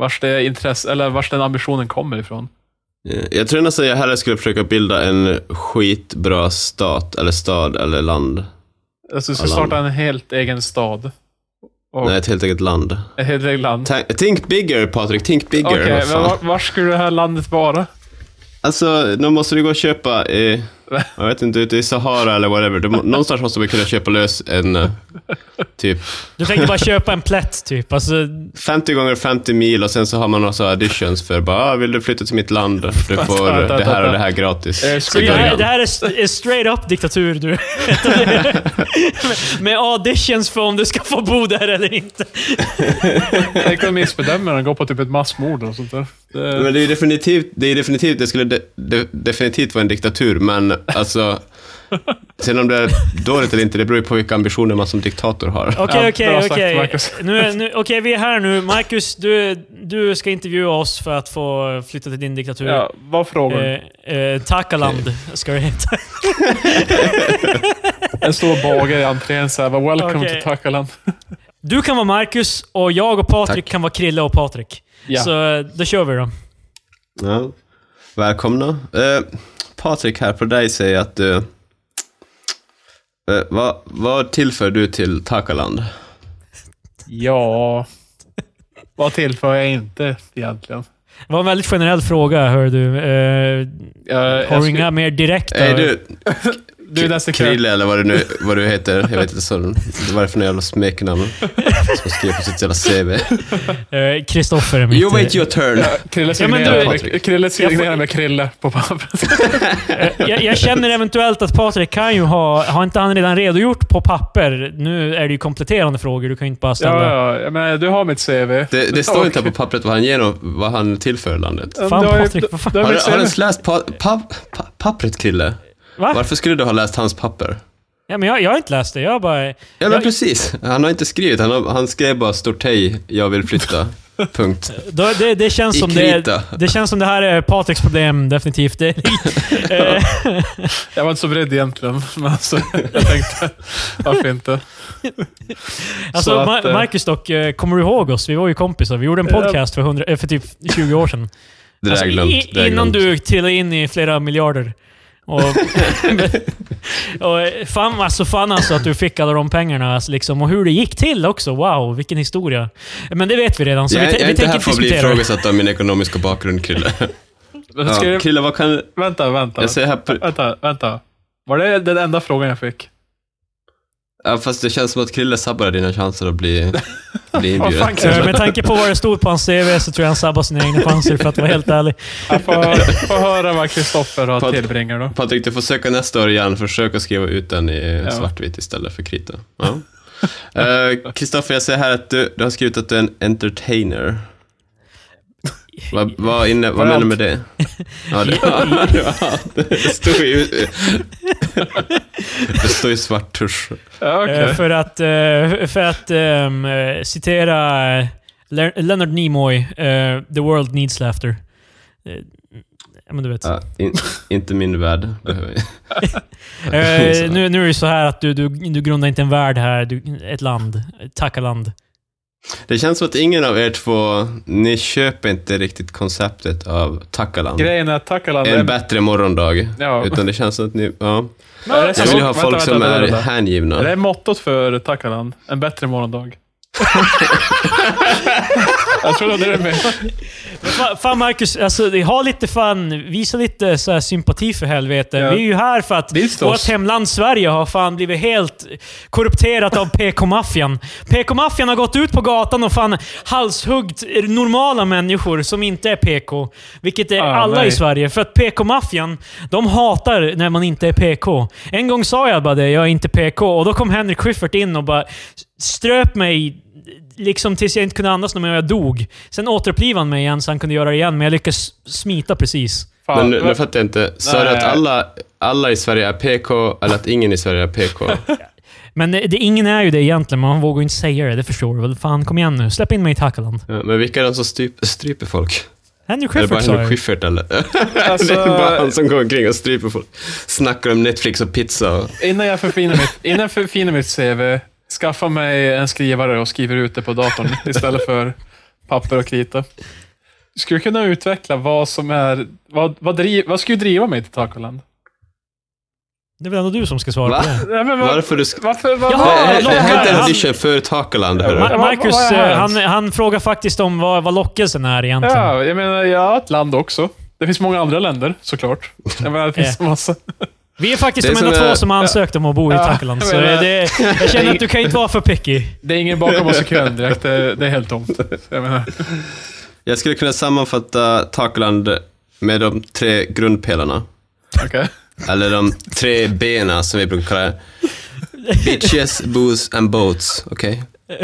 S3: vars det intresse, eller vars den ambitionen kommer ifrån.
S2: Eh, Jag tror nästan jag hellre skulle försöka bilda en skitbra stat, eller stad, eller land.
S3: Alltså, du ska
S2: Alla-
S3: starta en helt egen stad. Och
S2: Nej, ett helt eget land.
S3: ett helt eget land.
S2: Ta- Think bigger, Patrik. Think bigger.
S3: Okej,
S2: Vad
S3: men
S2: fan.
S3: var, var skulle det här landet vara?
S2: Alltså, då måste du gå och köpa i, jag vet inte, ute i Sahara eller whatever. Du, må- någonstans måste man kunna köpa lös en, eh, typ,
S1: Du tänkte bara köpa en plätt typ. Alltså,
S2: 50 gånger 50 mil och sen så har man några så här auditions för bara, ah, vill du flytta till mitt land? Du får det här och det här gratis.
S3: Eh,
S2: Så
S1: det,
S3: skulle
S2: börjar
S1: här,
S2: han.
S1: det här är st- är straight up diktatur du. med, med auditions för om du ska få bo där eller inte.
S3: Tänk om missbedömaren går på typ ett massmord och sånt där. Det,
S2: Men det är ju definitivt, det, är definitivt, det skulle de, de, definitivt vara en diktatur, men alltså, Sen om det är dåligt eller inte, det beror ju på vilka ambitioner man som diktator har.
S1: Okej,
S3: Ja,
S1: okej,
S3: bra sagt,
S1: okej.
S3: Marcus.
S1: Nu är- nu- Okej, vi är här nu. Marcus, du, du ska intervjua oss för att få flytta till din diktatur.
S3: Ja, vad frågar du?
S1: Eh, eh, Takaland ska det heta.
S3: En stor bagare i entrén så här, bara, “Welcome
S1: Okej.
S3: to Takaland”.
S1: Du kan vara Marcus och jag och Patrik kan vara Krille och Patrik.
S3: Ja.
S1: Så eh, då kör vi då.
S2: Ja. Välkomna. Eh, Patrik här, på dig säger att du... Eh, vad, vad tillför du till Takaland?
S3: Ja... Vad tillför jag inte egentligen?
S1: Det var en väldigt generell fråga, hör du. Eh,
S3: Jag, jag
S1: har du
S3: skulle-
S1: inga mer direkta?
S2: Är du
S3: du är nästa kväll.
S2: Krille eller vad du, nu, vad du heter? Jag vet inte så, vad det är för jävla smeknamn som skriver på sitt jävla CV.
S1: Eh, Kristoffer är mitt. eh,
S2: You wait your turn.
S3: Krille
S1: Ja, men
S3: signerar
S1: du-
S3: med- Krille signerar med Krille på pappret.
S1: Eh, jag, jag känner eventuellt att Patrik kan ju ha... Har inte han redan redogjort på papper? Nu är det ju kompletterande frågor, du kan ju inte bara ställa...
S3: Ja, ja, jag menar, du har mitt CV.
S2: Det, det står
S3: Och-
S2: inte på pappret vad han, genom, vad han tillför landet.
S1: Fan,
S3: du har ju-
S1: Patrik, vad fan?
S3: du har
S2: Har,
S3: mitt
S2: du- har du ens
S3: CV.
S2: läst pa, pa, pa, pappret, Krille?
S1: Va?
S2: Varför skulle du ha läst hans papper?
S1: Ja, men jag, jag har inte läst det. Jag bara...
S2: Ja, men
S1: Jag,
S2: precis. Han har inte skrivit. Han, har, han skrev bara stort hej, jag vill flytta. Punkt.
S1: då, det, det, känns
S2: I
S1: som det,
S2: krita.
S1: det känns som det här är Patriks problem, definitivt. Det, eh,
S3: Jag var inte så beredd egentligen, men alltså, jag tänkte, varför inte?
S1: alltså,
S3: Så att,
S1: Ma-
S3: eh,
S1: Marcus dock, eh, kommer du ihåg oss? Vi var ju kompisar. Vi gjorde en
S3: Ja.
S1: podcast för, 100, eh, för typ 20 år sedan.
S2: Det där
S1: Alltså,
S2: är glömt.
S1: i-
S2: det är
S1: innan
S2: glömt.
S1: du trillade in i flera miljarder. Och, och fan, alltså, fan alltså att du fick alla de pengarna. Alltså, liksom, och hur det gick till också. Wow, vilken historia. Men det vet vi redan, så
S2: jag,
S1: vi,
S2: jag
S1: te-
S2: är
S1: vi
S2: inte
S1: tänker
S2: här
S1: inte
S2: för att bli
S1: diskutera. det.
S2: ifrågasatt av min ekonomiska bakgrund, Krille.
S3: Men ska
S2: Ja.
S3: jag-
S2: Krille, vad kan...
S3: Vänta, vänta.
S2: Jag säger här... på-
S3: Vänta, vänta. Var det den enda frågan jag fick?
S2: Ja, fast det känns som att Krille sabbar dina chanser att bli, bli
S3: Vad fan,
S2: inbjuden.
S3: Krille?
S1: Eh, Med tanke på vad det stod på hans CV så tror jag han sabbar sina egna chanser för att vara helt ärlig.
S3: Jag får, får höra vad Kristoffer har
S2: Pat-
S3: tillbringar då.
S2: Patrik, du får söka nästa år igen. Försök att skriva ut den i
S3: Ja.
S2: svartvitt istället för krita. Ja. Eh, Kristoffer, jag ser här att du, du har skrivit att du är en entertainer. Vad, vad, inne, vad menar du med det? Ja, det, ja, det, var- det står ju... Det står ju svart tusch.
S3: Ja, okej.
S1: Eh, För att, eh, för att ehm, eh, citera eh, Le- Leonard Nimoy, eh, “The world needs laughter”. Eh, Ja, men du vet.
S2: Ja, in, inte min värld. behöver jag.
S1: Eh, nu, nu är det ju så här att du, du, du grundar inte en värld här, du, ett land. Tackaland.
S2: Det känns som att ingen av er två, ni köper inte riktigt konceptet av Tackaland.
S3: Grejen är att Takaland...
S2: En bättre morgondag.
S3: Ja.
S2: Utan det känns som att ni, ja.
S3: Är det
S2: Jag
S3: så?
S2: vill ju ha
S3: Vänta,
S2: folk
S3: vänta,
S2: som
S3: vänta,
S2: är
S3: vänta.
S2: hängivna.
S3: Är det mottot för Takaland? En bättre morgondag? jag tror det är det med.
S1: Fa- Fan Marcus, alltså, det- ha lite fan, visa lite så här sympati för helvete.
S3: Ja.
S1: Vi är ju här för att
S3: Visst
S1: vårt
S3: oss.
S1: hemland Sverige har fan blivit helt korrupterat av PK-maffian. PK-maffian har gått ut på gatan och fan halshuggit normala människor som inte är PK. Vilket är
S3: Ah,
S1: alla i
S3: nej.
S1: Sverige. För att PK-maffian, de hatar när man inte är PK. En gång sa jag bara det, jag är inte PK. Och då kom Henrik Schyffert in och bara ströp mig liksom tills jag inte kunde andas när jag dog. Sen återupplivade han mig igen så han kunde göra det igen, men jag lyckades smita precis.
S3: Fan,
S2: Men nu, nu fattar jag inte. Sa du
S3: Nej.
S2: att alla, alla i Sverige är PK eller att ingen i Sverige är PK?
S1: Men det, det, ingen är ju det egentligen, men man vågar ju inte säga det. Det förstår du väl? Fan, kom igen nu. Släpp in mig i Tackaland.
S2: Ja, Men vilka är de som stryp, stryper folk?
S1: Henry
S2: Är det bara
S1: Schyffert sa
S2: Henrik
S1: jag.
S2: Schyffert eller?
S3: Alltså-
S2: det är bara han som går omkring och stryper folk. Snackar om Netflix och pizza. Och...
S3: Innan jag förfinar mitt, innan jag förfinar mitt CV, skaffa mig en skrivare och skriver ut det på datorn istället för papper och krita. Skulle kunna utveckla vad som är... Vad, vad, driv, vad skulle driva mig till Tacoland?
S1: Det är väl ändå du som ska svara
S2: Va?
S1: på det.
S3: Nej, men vad-
S2: Varför du... Sk-
S3: Varför? Vad,
S1: Jaha,
S2: det
S1: Ja,
S2: är- det
S1: lockar
S2: här är inte en
S1: han.
S2: audition för Takaland, hörru.
S1: Ma-
S3: vad-
S1: Marcus,
S3: vad är
S1: eh,
S3: hans?
S1: han, han frågar faktiskt om vad, vad lockelsen är egentligen.
S3: ja, jag menar, jag har ett land också. Det finns många andra länder, såklart. Jag menar, det finns en massa.
S1: Vi är faktiskt
S2: Det är
S1: de enda
S2: som,
S1: två
S2: eh,
S1: som har ansökt om att bo i
S3: ja,
S1: Tackaland.
S3: jag
S1: Så
S3: menar-
S1: det, jag känner att du kan inte vara för picky.
S3: Det är ingen bakom oss i kön direkt. Det, det är helt tomt. Jag menar,
S2: Jag skulle kunna sammanfatta Takaland med de tre grundpelarna.
S3: okej.
S2: Eller de tre bena som vi brukar kalla det. Bitches, booze and boats. Okej? Det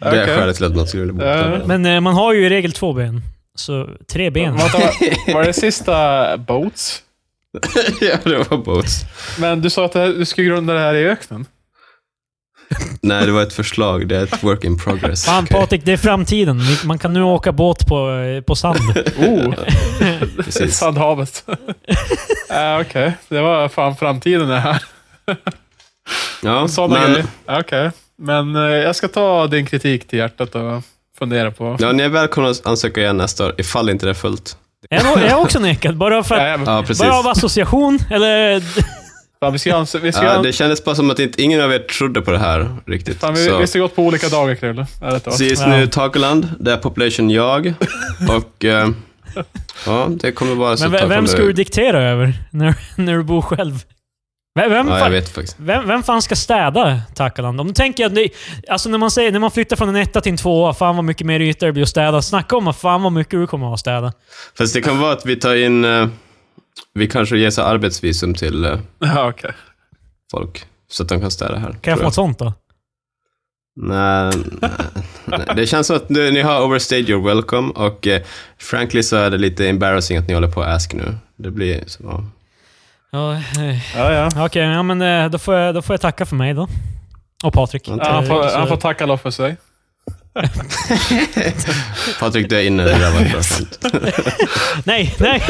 S2: är
S3: Okej.
S2: skälet till att man skulle vilja bo på
S3: Ja.
S2: Takaland.
S1: Men eh, man har ju i regel två ben. Så tre ben.
S3: Vänta, Var det sista Boats?
S2: ja, det var Boats.
S3: Men du sa att det här, du skulle grunda det här i öknen.
S2: Nej, det var ett förslag. Det är ett work in progress.
S1: Fan
S2: Okej,
S1: Patrik, det är framtiden. Ni- Man kan nu åka båt på, eh, på sand.
S3: Oh,
S2: Precis.
S3: Sandhavet. uh, Okej, det var fan framtiden det här.
S2: Ja,
S3: Sådana
S2: men,
S3: grejer. Okej, men eh, jag ska ta din kritik till hjärtat och fundera på...
S2: ja, ni är välkomna att ansöka igen nästa år, ifall inte det är fullt.
S1: Jag är nog- jag är också nekad. Bara, för att,
S3: Ja, men,
S2: Ja, precis.
S1: bara av association, eller...
S3: fan, vi ska, ans- vi ska,
S2: Ja, det kändes bara som att inte, ingen av er trodde på det här riktigt.
S3: fan, vi,
S2: så.
S3: vi ska gått på olika dagar, Krille. Ärligt talat.
S2: Så just
S1: Ja.
S2: nu Takoland, det är Population Jag. Och eh, ja, det kommer vara så
S1: Men
S2: ta
S1: ve- vem
S2: fram
S1: ska
S2: det.
S1: du diktera över när, när du bor själv? Vem, vem,
S2: Ja, jag
S1: fan,
S2: vet faktiskt.
S1: vem, vem fan ska städa Takaland? Om du tänker att ni, alltså när man, säger, när man flyttar från en etta till en tvåa, fan vad mycket mer yta det blir att städa. Snacka om att fan vad mycket du kommer att ha att städa.
S2: Fast det kan vara att vi tar in, eh, vi kanske ger så arbetsvisum till eh,
S3: Ja, okej.
S2: folk. Så att de kan städa här.
S1: Kan jag
S2: tror
S1: få något sånt då?
S2: Nej, nej, nej. Det känns som att nu, ni har overstayed your welcome och eh, frankly så är det lite embarrassing att ni håller på och ask nu. Det blir så, ja.
S1: Ja, eh,
S3: Ja, ja.
S1: Okej, ja, men eh, då får, jag, då får jag tacka för mig då. Och Patrik.
S2: Ja,
S3: Ja, han, får,
S1: Så-
S3: han får tacka alla för sig.
S2: Patrik, du är inne. Det där var inte bra skämt.
S1: Nej, nej!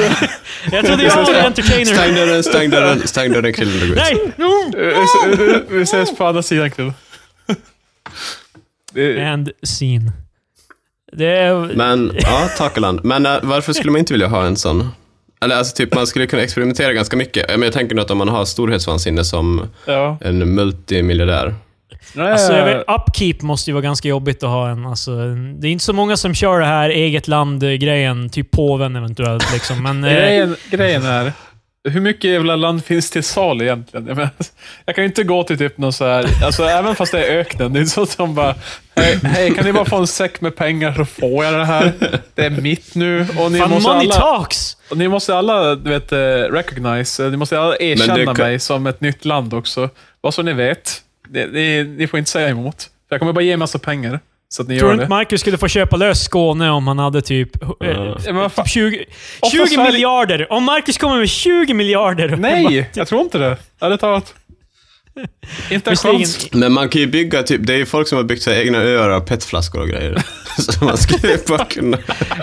S1: Jag trodde jag var en entertainer.
S2: Stäng dörren, stäng dörren, stäng dörren, killen du går ut.
S1: Nej!
S3: Vi- vi- eh, vi- Vi ses på andra sidan, Krille. Det-
S1: And scene. Det är...
S2: Men, ja, Takeland. Men eh, varför skulle man inte vilja ha en sån? Eller alltså, typ, man skulle kunna experimentera ganska mycket. Eh, Men jag tänker nog att om man har storhetsvansinne som
S3: Ja.
S2: en multimiljardär.
S3: Nej, eh,
S1: Alltså, jag vet, upkeep måste ju vara ganska jobbigt att ha en. Alltså, det är inte så många som kör det här eget land-grejen. Typ påven eventuellt. Liksom. Men, eh,
S3: Grejen, grejen är, hur mycket jävla land finns till sal egentligen? Jag, menar, jag kan ju inte gå till typ någon så här, alltså även fast det är öknen, det är så att de bara, hej, hej, kan ni bara få en säck med pengar så får jag det här. Det är mitt nu. Och ni,
S1: fan,
S3: måste
S1: money
S3: alla,
S1: talks!
S3: och ni måste alla, du vet, eh, recognize, eh, ni måste alla erkänna
S2: kan-
S3: mig som ett nytt land också. Vad så ni vet, ni, ni, ni får inte säga emot. För jag kommer bara ge en massa pengar. Så att ni
S1: Tror
S3: gör
S1: du inte
S3: det.
S1: Marcus skulle få köpa lös Skåne om han hade typ... eh,
S3: Ja, men vad fan-
S1: typ 20,
S3: Och för
S1: 20
S3: Sverige-
S1: miljarder! Om Marcus kommer med 20 miljarder!
S3: Nej, jag tror inte det. Ärligt talat. Inte en
S1: Visserligen-
S3: chans.
S2: Men man kan ju bygga, typ, det är ju folk som har byggt sina egna öar av petflaskor och grejer. Så man skulle ju bara kunna...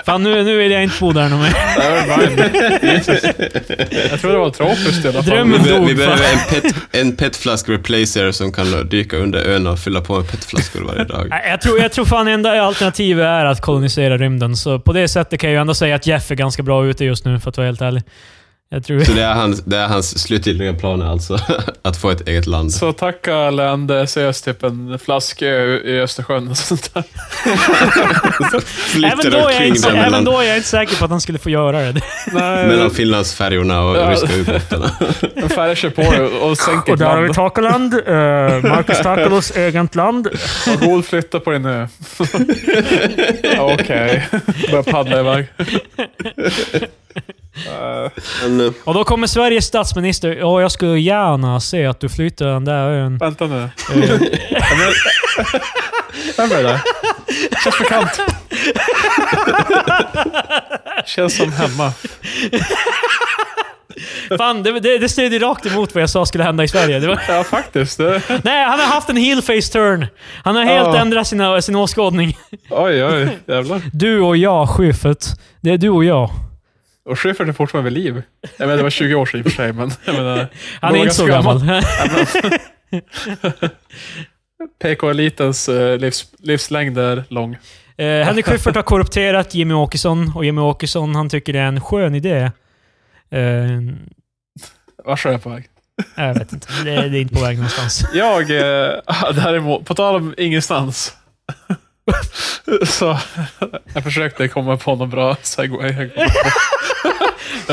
S1: Fan, nu, nu vill jag inte bo där någon mer.
S3: Jag tror det var tropiskt i alla fall.
S1: Drömmen.
S2: Vi, be-
S1: dog,
S2: vi
S1: va?
S2: behöver en, pet, en petflask-replacer som kan dyka under ön och fylla på med petflaskor varje dag.
S1: Nej, Jag tror, jag tror fan enda alternativet är att kolonisera rymden. Så på det sättet kan jag ju ändå säga att Jeff är ganska bra ute just nu, för att vara helt ärlig. Jag tror...
S2: Så det är hans, det är hans slutgiltiga plan alltså, att få ett eget land.
S3: Så tacka Lände seriöst typ en flaskö i Östersjön och sånt där.
S1: Även då,
S2: Flyttar
S1: är jag
S2: omkring
S1: inte,
S2: där
S1: även
S2: mellan,
S1: då är jag inte säker på att han skulle få göra det.
S3: Nej,
S2: mellan Finlandsfärjorna och
S3: Ja.
S2: ryska ubåtarna.
S3: en färja kör på det och sänker ett land.
S1: Takoland, eh, Marcus Takalos eget land.
S3: Och god flytta på din ö. Ja, Okej. Börjar paddla iväg. Eh,
S2: Men, eh,
S1: Och då kommer Sveriges statsminister. Ja, jag skulle gärna se att du flyttar den där ön.
S3: vänta nu.
S1: Eh,
S3: Vem är det? Känns bekant. Känns som hemma.
S1: Fan, det, det, det stred ju rakt emot vad jag sa skulle hända i Sverige. Det var,
S3: Ja, faktiskt. Det.
S1: nej, han har haft en heel face turn. Han har helt
S3: Ja.
S1: ändrat sina, sin åskådning.
S3: Oj, oj. Jävlar.
S1: Du och jag, Schyffert. Det är du och jag.
S3: Och Schyffert är fortfarande vid liv. Jag menar, det var 20 år sedan i och för sig, men jag menar,
S1: Han
S3: var
S1: är inte så
S3: ganska
S1: gammal.
S3: PK-elitens eh, livs, livslängd är lång.
S1: Eh, Henrik Schyffert har korrupterat Jimmy Åkesson och Jimmy Åkesson han tycker det är en skön idé. Eh,
S3: Vart är jag på väg?
S1: jag vet inte. Det, det är inte på väg någonstans.
S3: Jag, eh, däremot, på tal om ingenstans. Så jag försökte komma på någon bra segway. Jag, kom-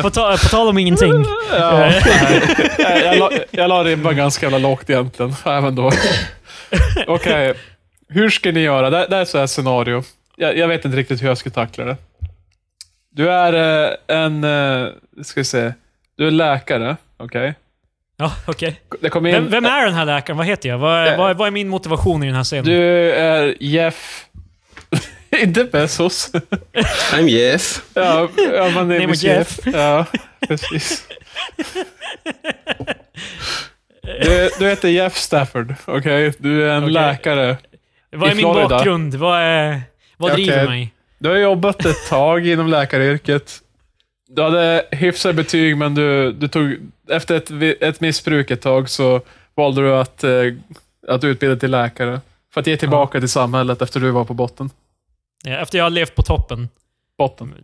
S1: På, ta, på tal om ingenting. Eh,
S3: ja, nej. jag, jag, la, jag la ribban ganska jävla lågt egentligen, även då. Okej, hur ska ni göra? Det, det är ett så här scenario. Jag, jag vet inte riktigt hur jag ska tackla det. Du är eh, en, eh, ska vi se, du är läkare, okej?
S1: Ja, okej.
S3: Det kom in...
S1: Vem, vem är den här läkaren? Vad heter jag? Vad, vad, vad är min motivation i den här scenen?
S3: Eh. Du är Jeff... Inte Bezos.
S2: I'm Jeff.
S3: ja, ja, my name
S1: Name
S3: is
S1: of Jeff.
S3: Jeff. Ja, precis. Du, du heter Jeff Stafford, okej? Du är en
S1: Okej.
S3: läkare.
S1: Vad
S3: I
S1: är min
S3: Florida.
S1: bakgrund? Vad, är, vad
S3: Okej.
S1: driver mig?
S3: Du har jobbat ett tag inom läkaryrket. Du hade hyfsade betyg, men du, du tog, efter ett, vi- ett missbruk ett tag så valde du att, eh, att utbilda dig till läkare. För att ge tillbaka till samhället efter du var på botten.
S1: Ja, Eh, Efter jag har levt på toppen.
S3: botten.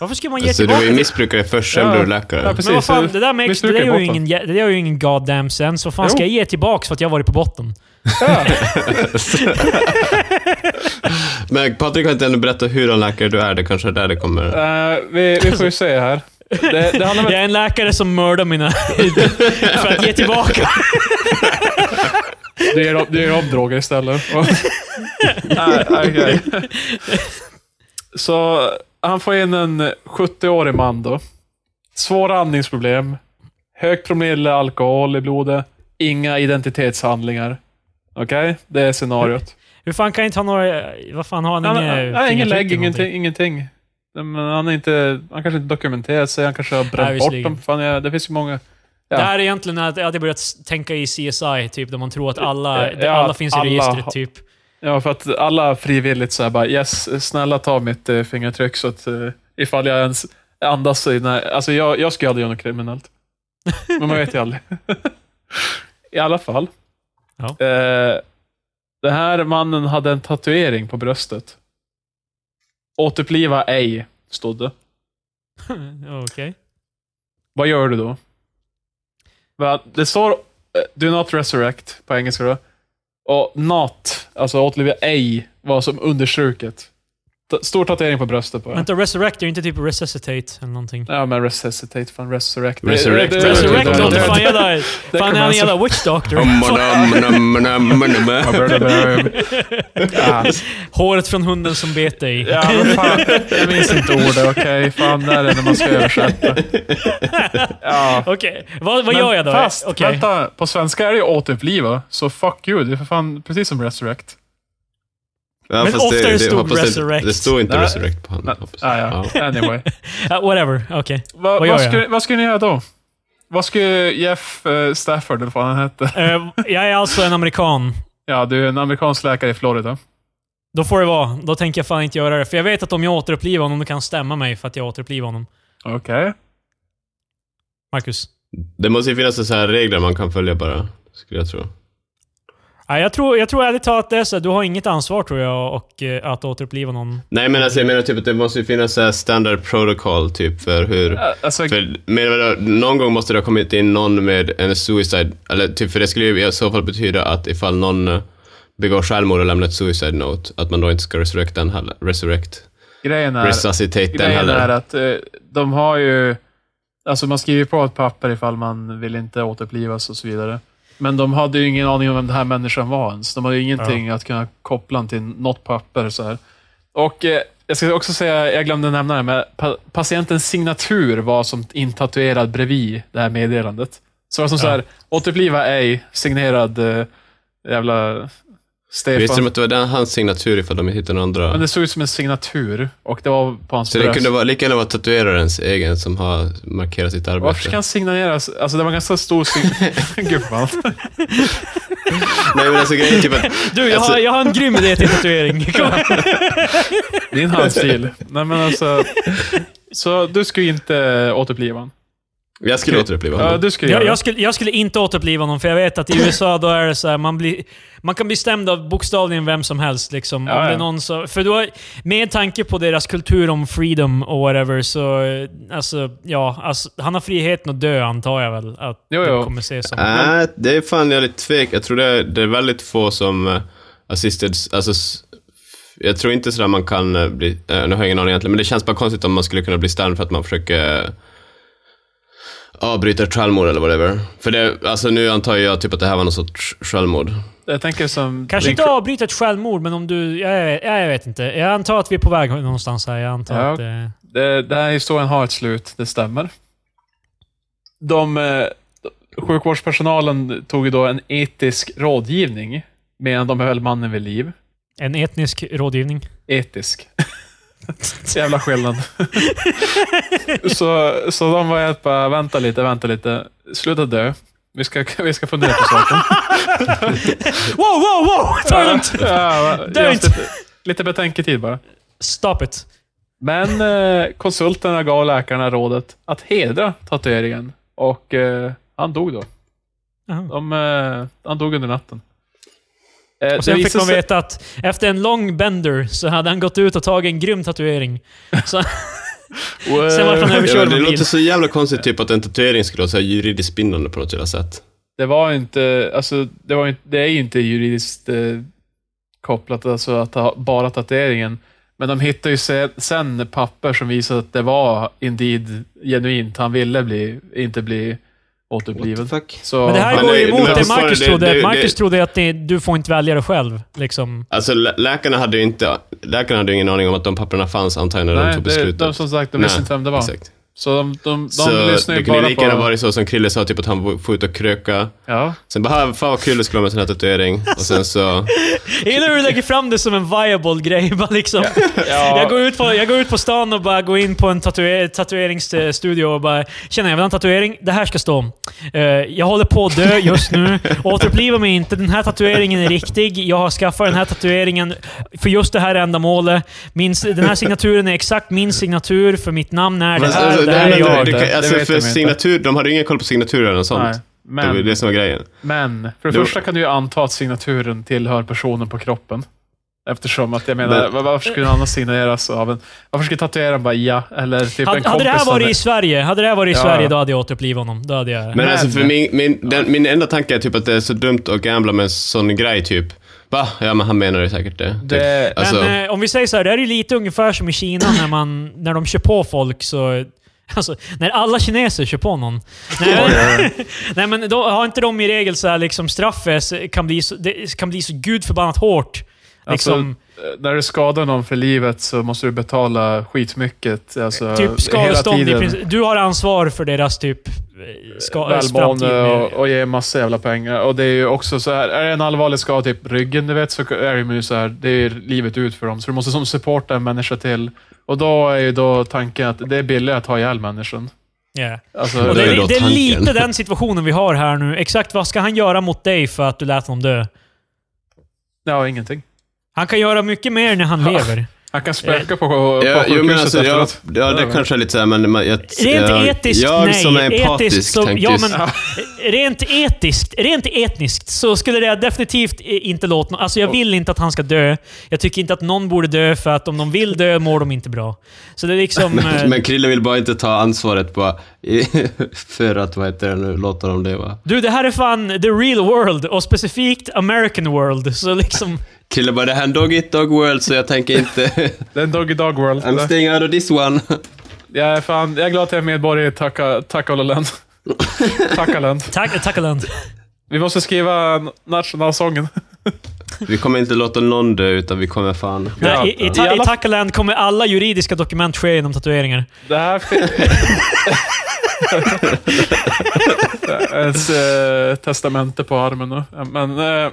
S1: Varför skulle man ge
S2: Så Alltså,
S3: Alltså,
S2: du var
S1: tillbaka?
S2: ju missbrukare först, sen
S3: Ja.
S2: blev du
S3: Ja,
S2: läkare.
S3: precis.
S1: Men vad fan,
S3: Så-
S1: det där, makes, det
S3: missbrukar
S1: där gör ju
S3: botten.
S1: ingen, jä- det där gör ju ingen goddamn sense. Vad fan ska
S3: Jo.
S1: jag ge tillbaka för att jag har varit på botten?
S3: Ja.
S2: Men Patrik har inte ännu berättat hur en läkare du är, det kanske är där det kommer...
S3: Eh, vi, vi får ju se här. Det, det
S1: Jag
S3: handlar väl
S1: är en läkare som mördar mina... för att ge tillbaka.
S3: Du ger, upp- du ger upp droger istället. Nej, okej. Så han får in en 70-årig man då. Svåra andningsproblem. Hög promille alkohol i blodet. Inga identitetshandlingar. Okej? Det är scenariot.
S1: Hur fan kan jag inte ha några... Vad fan, har han
S3: Han,
S1: inga
S3: han, han, ingen
S1: fingertryck
S3: lägg,
S1: eller någonting?
S3: ingenting. ingenting. Nej, Men han, är inte, han kanske inte dokumenterat sig. Han kanske har
S1: Nej,
S3: bränt bort
S1: visserligen.
S3: dem. Fan, jag, det finns ju många. Ja.
S1: Det här är egentligen att jag hade börjat s- tänka i CSI, typ, där man tror att alla,
S3: Ja,
S1: alla
S3: att
S1: finns i
S3: alla
S1: registret,
S3: har-
S1: typ.
S3: Ja, för att alla frivilligt så här bara yes, snälla ta mitt eh, fingertryck så att eh, ifall jag ens andas i den här, Alltså jag, jag skulle aldrig göra något kriminellt. Men man vet ju aldrig. I alla fall.
S1: Ja.
S3: Eh, den här mannen hade en tatuering på bröstet. Återuppliva ej, stod det.
S1: Okej.
S3: Vad gör du då? Va, Det står eh, Do not resurrect på engelska då. Och not, alltså återliva ej, var som understruket. Ta- Stor tatuering på bröstet bara.
S1: Vänta, resurrect är ju inte typ resuscitate eller någonting.
S3: Ja, men resuscitate fan resurrect. Eh, Det-
S2: Resurrect.
S3: det- det-
S2: Resurrect
S1: Resurrect
S3: det-
S1: låter
S3: det-
S1: fan jävla...
S3: det
S1: Fan, är
S3: kommer
S1: han en
S3: alltså-
S1: jävla witch doctor?
S2: Om-ma-dam-nam-nam-nam-nam.
S3: Ja,
S1: Håret från hunden som bet dig.
S3: ja, men fan. Jag minns inte ordet, okej. Fan, där är det när man ska översätta. Ja.
S1: Okej, vad, vad
S3: Men
S1: gör jag då?
S3: Fast,
S1: Okej.
S3: vänta. På svenska är det ju återuppliva, så fuck you. Det är för fan precis som resurrect.
S2: Ja,
S1: Men
S2: fast
S1: ofta det stod
S2: hoppas inte-
S1: resurrect.
S2: Det stod inte
S3: Nej.
S2: resurrect på honom.
S3: Nej,
S2: hoppas jag.
S3: ah, ja. Anyway.
S1: Ja, whatever, okej.
S3: Va,
S1: Vad
S3: vad,
S1: gör jag?
S3: skulle, vad skulle ni göra då? Vad skulle Jeff eh, Stafford, eller vad han hette?
S1: Eh, jag är alltså en amerikan.
S3: Ja, du är en amerikansk läkare i Florida.
S1: Då får det vara. Då tänker jag fan inte göra det. För jag vet att om jag återupplivar honom, då kan han stämma mig för att jag återupplivar honom.
S3: Okej.
S1: Marcus?
S2: Det måste ju finnas så här regler man kan följa bara, skulle jag tro.
S1: Ja, jag, tror, jag tror ärligt talat det är så. här, Du har inget ansvar tror jag och, eh, att återuppliva någon.
S2: Nej, men alltså jag menar typ att det måste ju finnas så här standard protocol typ för hur...
S3: Ä- Alltså,
S2: För, men jag menar, någon gång måste det ha kommit in någon med en suicide, eller typ, för det skulle ju i så fall betyda att ifall någon eh, begår självmord och lämnar ett suicide note, att man då inte ska resurrect den heller. Resurrect.
S3: grejen är,
S2: Resuscitate den
S3: grejen är
S2: heller.
S3: att eh, de har ju... Alltså man skriver på ett papper ifall man vill inte återupplivas och så vidare. Men de hade ju ingen aning om vem den här människan var ens. De hade ju ingenting att kunna koppla den till något papper. Så här. Och eh, jag ska också säga, jag glömde nämna det, men pa- patientens signatur var som intatuerad bredvid det här meddelandet. Så det var som så här, återuppliva ej, signerad eh, jävla
S2: Visste de
S3: Stefan.
S2: att det var den, hans signatur ifall de hittade någon
S3: Men
S2: andra?
S3: det såg ut som en signatur och det var på hans
S2: Så det
S3: bröst.
S2: kunde vara, lika gärna vara tatuerarens egen som har markerat sitt
S3: Varför ska
S2: arbete.
S3: han signalera? Alltså det var en ganska stor sign... Gud fan.
S2: Nej men alltså grejen är typ att...
S1: Du, jag, har,
S2: Alltså-
S1: jag har en grym idé till tatuering. Kom.
S3: Din handstil. Nej men alltså. Så du skulle inte återuppliva honom?
S2: Jag skulle återuppliva
S3: Ja,
S2: honom.
S3: du skulle göra
S1: Jag,
S3: det.
S1: jag, skulle, jag skulle inte återuppliva någon, för jag vet att i USA då är det så här, man, blir, man kan bli stämd av bokstavligen vem som helst. Liksom.
S3: Ja,
S1: Om det är
S3: ja.
S1: någon så, för då, med tanke på deras kultur om freedom och whatever, så eh, alltså, ja, alltså, han har friheten att dö antar jag väl att
S3: Jo,
S1: det
S3: jo.
S1: kommer ses som.
S2: Nej, Äh, det är fan jag är lite tvek. Jag tror det är, det är väldigt få som uh, assisted... Alltså, s- jag tror inte sådär man kan eh, bli... eh, nu har jag ingen aning egentligen, men det känns bara konstigt om man skulle kunna bli stämd för att man försöker eh, avbryta ett självmord eller whatever. För det, alltså nu antar jag typ att det här var någon sorts självmord.
S3: Jag tänker som...
S1: Kanske
S3: din-
S1: inte avbryta ett självmord, men om du... Jag, jag, jag vet inte. Jag antar att vi är på väg någonstans här. Jag antar
S3: Ja.
S1: att... Eh,
S3: Det, den här historien har ett slut, det stämmer. De, eh, sjukvårdspersonalen tog ju då en etisk rådgivning medan de höll mannen vid liv.
S1: en etnisk rådgivning.
S3: Etisk. Så jävla skillnad. så, så de var helt bara, vänta lite, vänta lite. Sluta dö. Vi ska, vi ska fundera på saken.
S1: Wow, wow, wow! Ta det lugnt!
S3: Ja, ja,
S1: Dö
S3: ge oss
S1: inte.
S3: lite, lite betänketid bara.
S1: Stop it.
S3: Men eh, konsulterna gav läkarna rådet att hedra tatueringen. Och eh, han dog då.
S1: Jaha.
S3: De, eh, han dog under natten. Eh,
S1: Och sen
S3: det
S1: fick
S3: visade
S1: man
S3: sig-
S1: veta att efter en lång bender så hade han gått ut och tagit en grym tatuering. Så, sen vart han överkörd
S2: Ja,
S1: av
S2: det
S1: en bil.
S2: låter så jävla konstigt typ att en tatuering skulle vara så här juridiskt bindande på något jävla sätt.
S3: Det var inte, alltså, det, var inte, det är ju inte juridiskt eh, kopplat, alltså att ha bara tatueringen. Men de hittade ju sen, sen papper som visade att det var indeed genuint. Han ville bli, inte bli återbliven.
S2: fuck?
S3: Så,
S1: Men det här
S2: Men
S1: går
S2: det-
S1: ju emot
S2: men
S1: det
S2: fortfarande,
S1: Marcus
S2: det-
S1: trodde.
S2: det- det-
S1: Marcus trodde att det, du får inte välja det själv. Liksom.
S2: Alltså lä- läkarna hade ju inte, läkarna hade ju ingen aning om att de papperna fanns antagligen när de
S3: nej,
S2: tog
S3: det,
S2: beslutet.
S3: de som sagt, de visste
S2: Nej,
S3: inte vem det var.
S2: Exakt.
S3: Så de, de, de
S2: Så
S3: lyssnar ju
S2: det kunde
S3: bara
S2: lika gärna
S3: på...
S2: varit så som Krille sa, typ att han får ut och kröka.
S3: Ja.
S2: Sen bara, "Ah, fan vad kul det skulle vara med en sån här tatuering. Och sen så,
S1: Jag gillar hur du lägger fram det som en viable grej. Bara liksom.
S3: Ja.
S1: jag, går ut på, jag går ut på stan och bara går in på en tatuer, tatueringsstudio och bara “Tjena, jag vill ha en tatuering. Det här ska stå. Eh, jag håller på att dö just nu. Återuppliva mig inte. Den här tatueringen är riktig. Jag har skaffat den här tatueringen för just det här ändamålet. Min, den här signaturen är exakt min signatur, för mitt namn är det
S2: Fast,
S1: här.
S2: alltså,
S1: Det
S2: det
S1: här är
S2: här-
S3: jag.
S2: det- det-
S3: Det
S2: alltså,
S3: vet de
S2: för
S3: inte.
S2: signatur, de hade ju ingen koll på signaturer eller sånt.
S3: Nej,
S2: Det var ju
S3: men,
S2: det som var grejen.
S3: men för det
S2: Det var-
S3: första kan du ju anta att signaturen tillhör personen på kroppen. Eftersom att jag menar,
S2: Men-
S3: var- varför skulle han annars signeras av en... Varför skulle tatueraren bara ja, eller typ en
S1: Hade,
S3: kompis?
S1: hade det här
S3: hade-
S1: varit i Sverige, hade det här varit i
S3: Ja.
S1: Sverige, då hade jag återupplivat honom. Då hade jag...
S2: Men alltså för
S3: Men-
S2: min, min, den, min enda tanke är typ att det är så dumt att gambla med en sån grej typ. Va? Ja men han menar ju säkert det.
S3: Det-
S2: Typ. Alltså,
S1: Men eh, om vi säger så här, det här är ju lite ungefär som i Kina när, man, när de kör på folk så... Alltså, när alla kineser kör på någon. Nej, nej men då har inte de i regel så här liksom straffet så- kan bli så, det kan bli så gudförbannat hårt. Liksom,
S3: Eh, När du skadar någon för livet så måste du betala skitmycket. Alltså,
S1: typ skadestånd i
S3: hela tiden.
S1: princip. Du har ansvar för deras typ eh, ska, framtid.
S3: välmående
S1: med-
S3: och, och ge massa jävla pengar. Och det är ju också så här, är det en allvarlig skada, typ ryggen, du vet, så är det ju så här, det är ju livet ut för dem. Så du måste som supporta en människa till. Och då är ju då tanken att det är billigare att ha ihjäl människan.
S1: Ja.
S3: Alltså,
S1: Och
S2: det
S1: det,
S2: är ju
S1: är,
S2: då
S1: det är
S2: tanken.
S1: lite den situationen vi har här nu. Exakt vad ska han göra mot dig för att du lät honom dö?
S3: ja, ingenting.
S1: Han kan göra mycket mer när han lever.
S3: Han kan spöka på, på
S2: Eh, ja, jo,
S3: sjukhuset
S2: men alltså, jag,
S3: efteråt.
S2: ja, det kanske är lite såhär, men... man- Jag,
S1: Rent
S2: jag,
S1: etiskt,
S2: Eh, jag
S1: nej.
S2: som är empatisk
S1: etiskt, så,
S2: tänkte
S1: ja,
S2: ju-
S1: men, rent, etiskt, rent etniskt så skulle det definitivt eh, inte låta... nå- Alltså jag vill inte att han ska dö. Jag tycker inte att någon borde dö, för att om de vill dö mår de inte bra. Så det är liksom... eh,
S2: Men Krille vill bara inte ta ansvaret bara för att, vad heter det nu, låta dem leva.
S1: du, det här är fan the real world och specifikt American world. Så liksom...
S2: Krille bara, det här är en dog eat dog world så jag tänker inte...
S3: Det är en doggy dog world.
S2: I'm staying out of this one.
S3: Jag är, fan, jag är glad att jag är medborgare i Taka- Takalaland. Takaland.
S1: Tack, tack Aland.
S3: Vi måste skriva n- nationalsången.
S2: Vi kommer inte låta någon dö utan vi kommer fan...
S1: Nej, I i,
S3: I
S1: ta, i
S3: alla-
S1: Takaland kommer alla juridiska dokument ske genom tatueringar.
S3: Det här fi- Ens eh, testamente på armen. då. Men eh,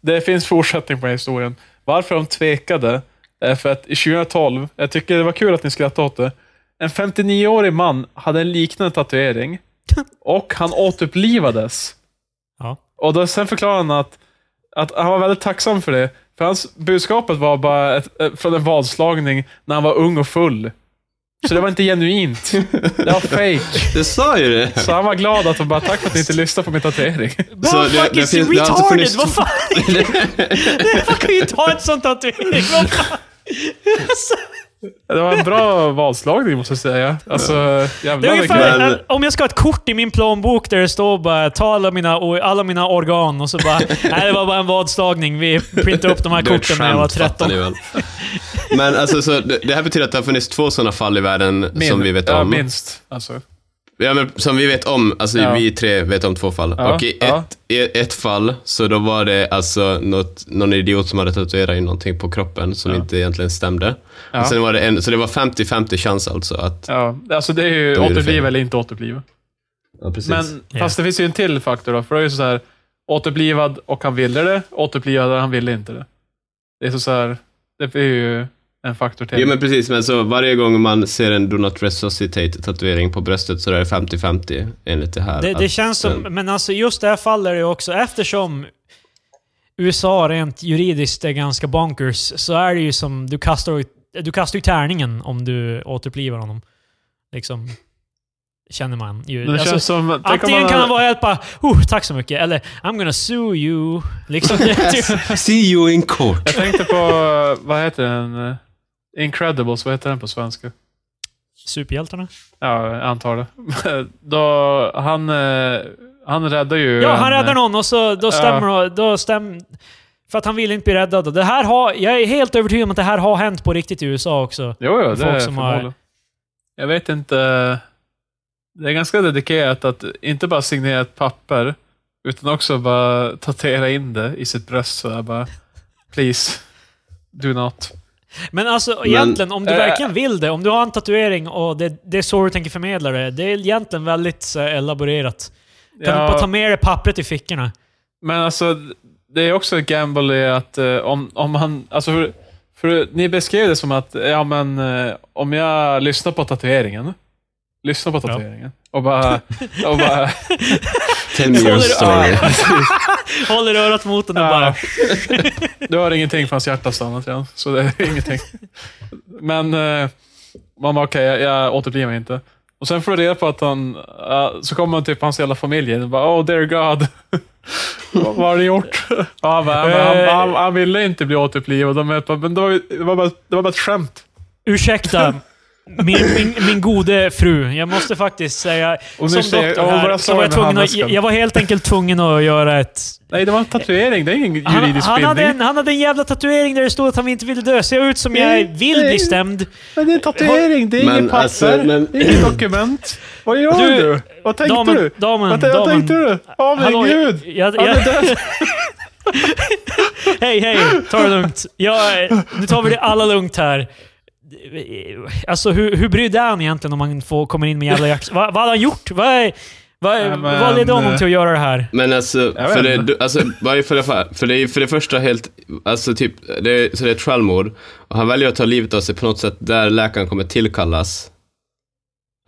S3: det finns fortsättning på den här historien. Varför de tvekade är för att i 2012, jag tycker det var kul att ni skrattade åt det, en 59-årig man hade en liknande tatuering och han återupplivades.
S1: Ja.
S3: Och då, sen förklarade han att, att han var väldigt tacksam för det. För hans budskapet var bara ett, eh, från en vadslagning när han var ung och full. Så det var inte genuint. Det var fake.
S2: Du sa ju det!
S3: Så han var glad att han bara, tack för att ni inte lyssnade på min tatuering.
S1: Vad
S2: det-
S1: fuck
S2: det
S1: is
S2: finns- det har alltså
S1: retarded?
S2: funnits-
S1: Vad fan? Man kan ju inte ha ett sånt tatuering. Vad fan? Alltså,
S3: Det var en bra vadslagning måste jag säga. Alltså,
S1: Det
S3: jävlar
S1: är
S3: vilken-
S1: ungefär
S2: Men-
S1: eh, om jag ska ha ett kort i min plånbok där det står bara ta alla mina, o- alla mina organ och så bara nej det var bara en vadslagning. Vi printade upp de här
S2: Det var ett
S1: korten när jag var
S2: skämt, fattar
S1: 13.
S2: ni väl. Men alltså, så, det, det här betyder att det har funnits två sådana fall i världen
S3: Min-
S2: som vi vet
S3: ja,
S2: om.
S3: minst. Alltså.
S2: Ja, men som vi vet om, alltså
S3: Ja.
S2: vi tre vet om två fall.
S3: Ja,
S2: Och i
S3: ja.
S2: ett, i ett fall, så då var det alltså något, någon idiot som hade tatuerat in någonting på kroppen som inte egentligen stämde.
S3: Ja.
S2: Och sen var det en, så det var 50-50 chans alltså att...
S3: Ja, alltså det är ju
S2: Då är det fel.
S3: återbliva eller inte återbliva.
S2: Ja, precis.
S3: Men
S1: Ja.
S3: fast det finns ju en till faktor då, för det är ju så här återblivad och han ville det, återblivad och han ville inte det. Det är så, så här, det är ju en faktor till.
S2: Ja, men precis. Men så varje gång man ser en Do Not Resuscitate-tatuering på bröstet så är det 50-50 enligt det här.
S1: Det, det
S2: Att-
S1: känns som,
S2: Mm.
S1: men alltså just det här fallet är det ju också, eftersom USA rent juridiskt är ganska bonkers, så är det ju som, du kastar, du kastar ju tärningen om du återupplivar honom. Liksom, känner man ju.
S3: Men det
S1: Alltså,
S3: känns som... Tänk om
S1: Antingen
S3: man-
S1: kan han vara helt bara oh, “Tack så mycket” eller “I'm gonna sue you”. Liksom, det är typ,
S2: See you in court.
S3: Jag tänkte på, vad heter den? Incredibles, vad heter den på svenska?
S1: superhjältarna.
S3: Ja, jag antar det. Då, han, eh, han räddar ju...
S1: Ja,
S3: en- eh,
S1: han räddar någon och så då stämmer då stäm, För att han vill inte bli räddad. Och Det här har, jag är helt övertygad om att det här har hänt på riktigt i USA också.
S3: Jo, jo, det
S1: Folk
S3: är
S1: som har-
S3: förmodligen. Jag vet inte. Det är ganska dedikerat att inte bara signera ett papper, utan också bara tatuera in det i sitt bröst sådär bara. Please, do not.
S1: Men alltså
S2: Men-
S1: egentligen, om du
S3: Eh.
S1: verkligen vill det, om du har en tatuering och det, det är så du tänker förmedla det, det är egentligen väldigt så, här, elaborerat. Kan
S3: Ja.
S1: du bara ta med dig pappret i fickorna?
S3: Men alltså, det är också ett gamble i att eh, om, om han... Alltså, för, för ni beskrev det som att, ja men, eh, om jag lyssnar på tatueringen, lyssnar på tatueringen, och bara... Och bara
S2: Tell me your story.
S1: Håller örat mot den och
S3: Ja.
S1: bara...
S3: Du har ingenting för hans hjärta stannat redan, så det är ingenting. Men eh, man bara, okej, jag, jag återupplivar mig inte. Och sen får du reda på att han, eh, så kommer han typ på hans hela familj och bara, oh dear God. Vad vad har du gjort? Ja, han, bara, "Men han, han, han ville inte bli återupplivad. De bara, men det var, ju- det, var bara, det var bara ett skämt.
S1: Ursäkta, min, min, min gode fru. Jag måste faktiskt säga...
S3: Och nu
S1: som
S3: ser jag-
S1: doktor
S3: jag
S1: här,
S3: bara
S1: så
S3: slår
S1: var jag,
S3: med
S1: tvungen att,
S3: handväskan.
S1: jag var helt enkelt tvungen att göra ett...
S3: Nej, det var en tatuering. Det är ingen
S1: Han,
S3: juridisk
S1: han, hade
S3: bindning.
S1: en, han hade en jävla tatuering där det stod att han inte ville dö. Ser jag ut som jag vill bli stämd?
S3: Men det är en tatuering. Det är
S2: Men
S3: inget papper.
S2: alltså, men-
S3: Det är inget dokument. Vad gör
S1: Du,
S3: du? Vad tänkte
S1: Damen,
S3: du?
S1: damen,
S3: vad,
S1: damen.
S3: vad tänkte du? Åh
S1: Hallå,
S3: min gud!
S1: Jag,
S3: Han
S1: jag,
S3: är död.
S1: hej, hej! Ta det lugnt. Jag, nu tar vi det alla lugnt här. Alltså, hur, hur brydd är han egentligen om han får, kommer in med jävla jack... Vad, vad hade han gjort? Vad, är- vad, är-
S3: Ja, men, eh,
S1: vad ledde honom till att göra det här?
S2: Men alltså,
S3: Jag vet
S2: för det,
S3: inte.
S2: du- alltså varje för, det, för- för det är för det första helt, alltså typ, det är, så det är ett självmord. Och han väljer att ta livet av sig på något sätt där läkaren kommer tillkallas.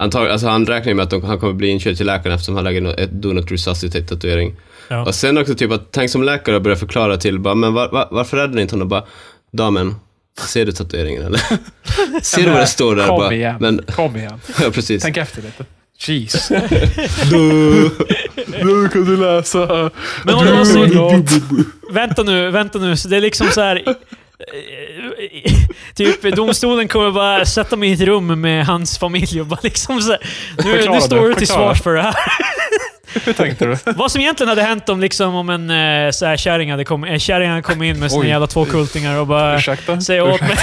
S2: Antag, alltså han räknar ju med att de, han kommer bli inkörd till läkaren eftersom han lägger no- ett Do Not Resuscitate-tatuering.
S1: Ja.
S2: Och sen också typ att, tänk som läkare börjar förklara till, bara, men var, var, varför räddade ni inte honom? Bara, damen, ser du tatueringen eller? ser du vad det står där?
S3: Kom
S2: Bara,
S3: igen.
S2: Men,
S3: Kom igen.
S2: ja, precis.
S3: Tänk efter lite. Jeez.
S2: Du-
S3: nu kan du läsa.
S1: Men om man ser, vänta nu, vänta nu. Så det är liksom så här... typ domstolen kommer bara sätta mig i ett rum med hans familj och bara liksom så här, nu,
S3: Förklara
S1: nu
S3: du,
S1: står du till
S3: förklara.
S1: svars för det här.
S3: Hur tänkte du?
S1: Vad som egentligen hade hänt om, liksom, om en eh, så här, kärring hade kom, eh, kärring hade kommit in med sina
S3: Oj.
S1: jävla två kultingar och bara
S3: Ursäkta?
S1: säger åt mig,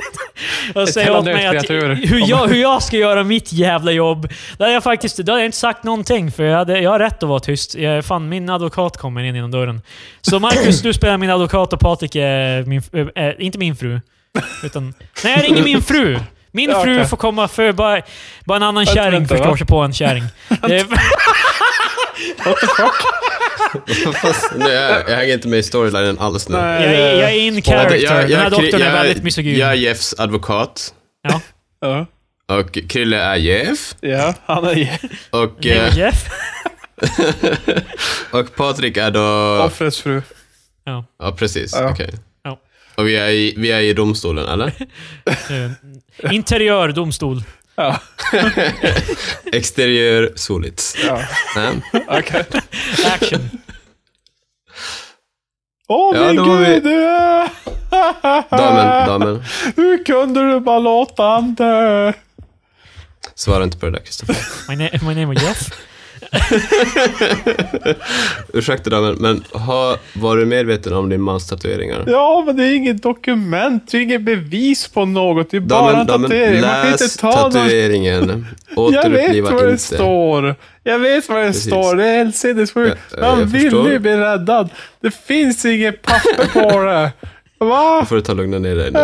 S1: och säger åt
S3: helande
S1: mig att,
S3: kreatur.
S1: hur, jag, hur jag ska göra mitt jävla jobb. Då hade jag faktiskt då hade jag inte sagt någonting, för jag, hade, jag har rätt att vara tyst. Jag, fan, min advokat kommer in genom dörren. Så Marcus, du spelar min advokat och Patrik är min, eh, eh, inte min fru. Utan, nej, jag ringer min fru. Min
S3: Ja,
S1: fru
S3: okej.
S1: får komma för bara, bara en annan
S3: Vänta,
S1: kärring
S3: vänta,
S1: förstår
S3: va?
S1: sig på en kärring. Det är-
S2: Fast, nej, jag, jag hänger inte med i storylinen alls nu.
S3: Nej.
S1: Jag, är- jag är in character. Den här doktorn är
S2: jag-
S1: väldigt misogyn.
S2: Jag är Jeffs advokat.
S1: ja.
S3: Ja.
S2: Och Krille är Jeff.
S3: ja, han är
S2: Och,
S1: Det är
S2: eh,
S1: Jeff.
S2: och Patrik är då...
S3: offrets fru.
S1: Ja.
S2: Ja, precis.
S3: Ja.
S2: Okej.
S1: Ja.
S2: Och vi är, i, vi är i domstolen, eller?
S1: Eh, Interiör domstol.
S3: Ja,
S2: Exteriör soligt.
S3: ja.
S2: Nej.
S3: okej.
S1: Action.
S3: Åh
S2: Ja, då
S3: min
S2: var vi-
S3: gud! du är-
S2: Damen, damen.
S3: Hur kunde du bara låta han dö?
S2: Svara inte på det där, Kristoffer.
S1: My, na my name is Jeff.
S2: Ursäkta, damen, men har, var du medveten om din mans tatueringar?
S3: Ja, men det är inget dokument. Det är inget bevis på något. Det är bara
S2: Damen,
S3: en
S2: damen,
S3: tatuering. Man kan inte
S2: läs
S3: ta någon
S2: tatueringen.
S3: Jag vet
S2: Återuppliva
S3: vad det
S2: inte.
S3: står. Jag vet vad det
S2: Precis.
S3: står. Det är helsidessjukt.
S2: Ja, ja, jag
S3: Man vill
S2: förstår.
S3: ju bli räddad. Det finns inget papper på det. Va?
S2: Nu får du ta och lugna ner dig nu.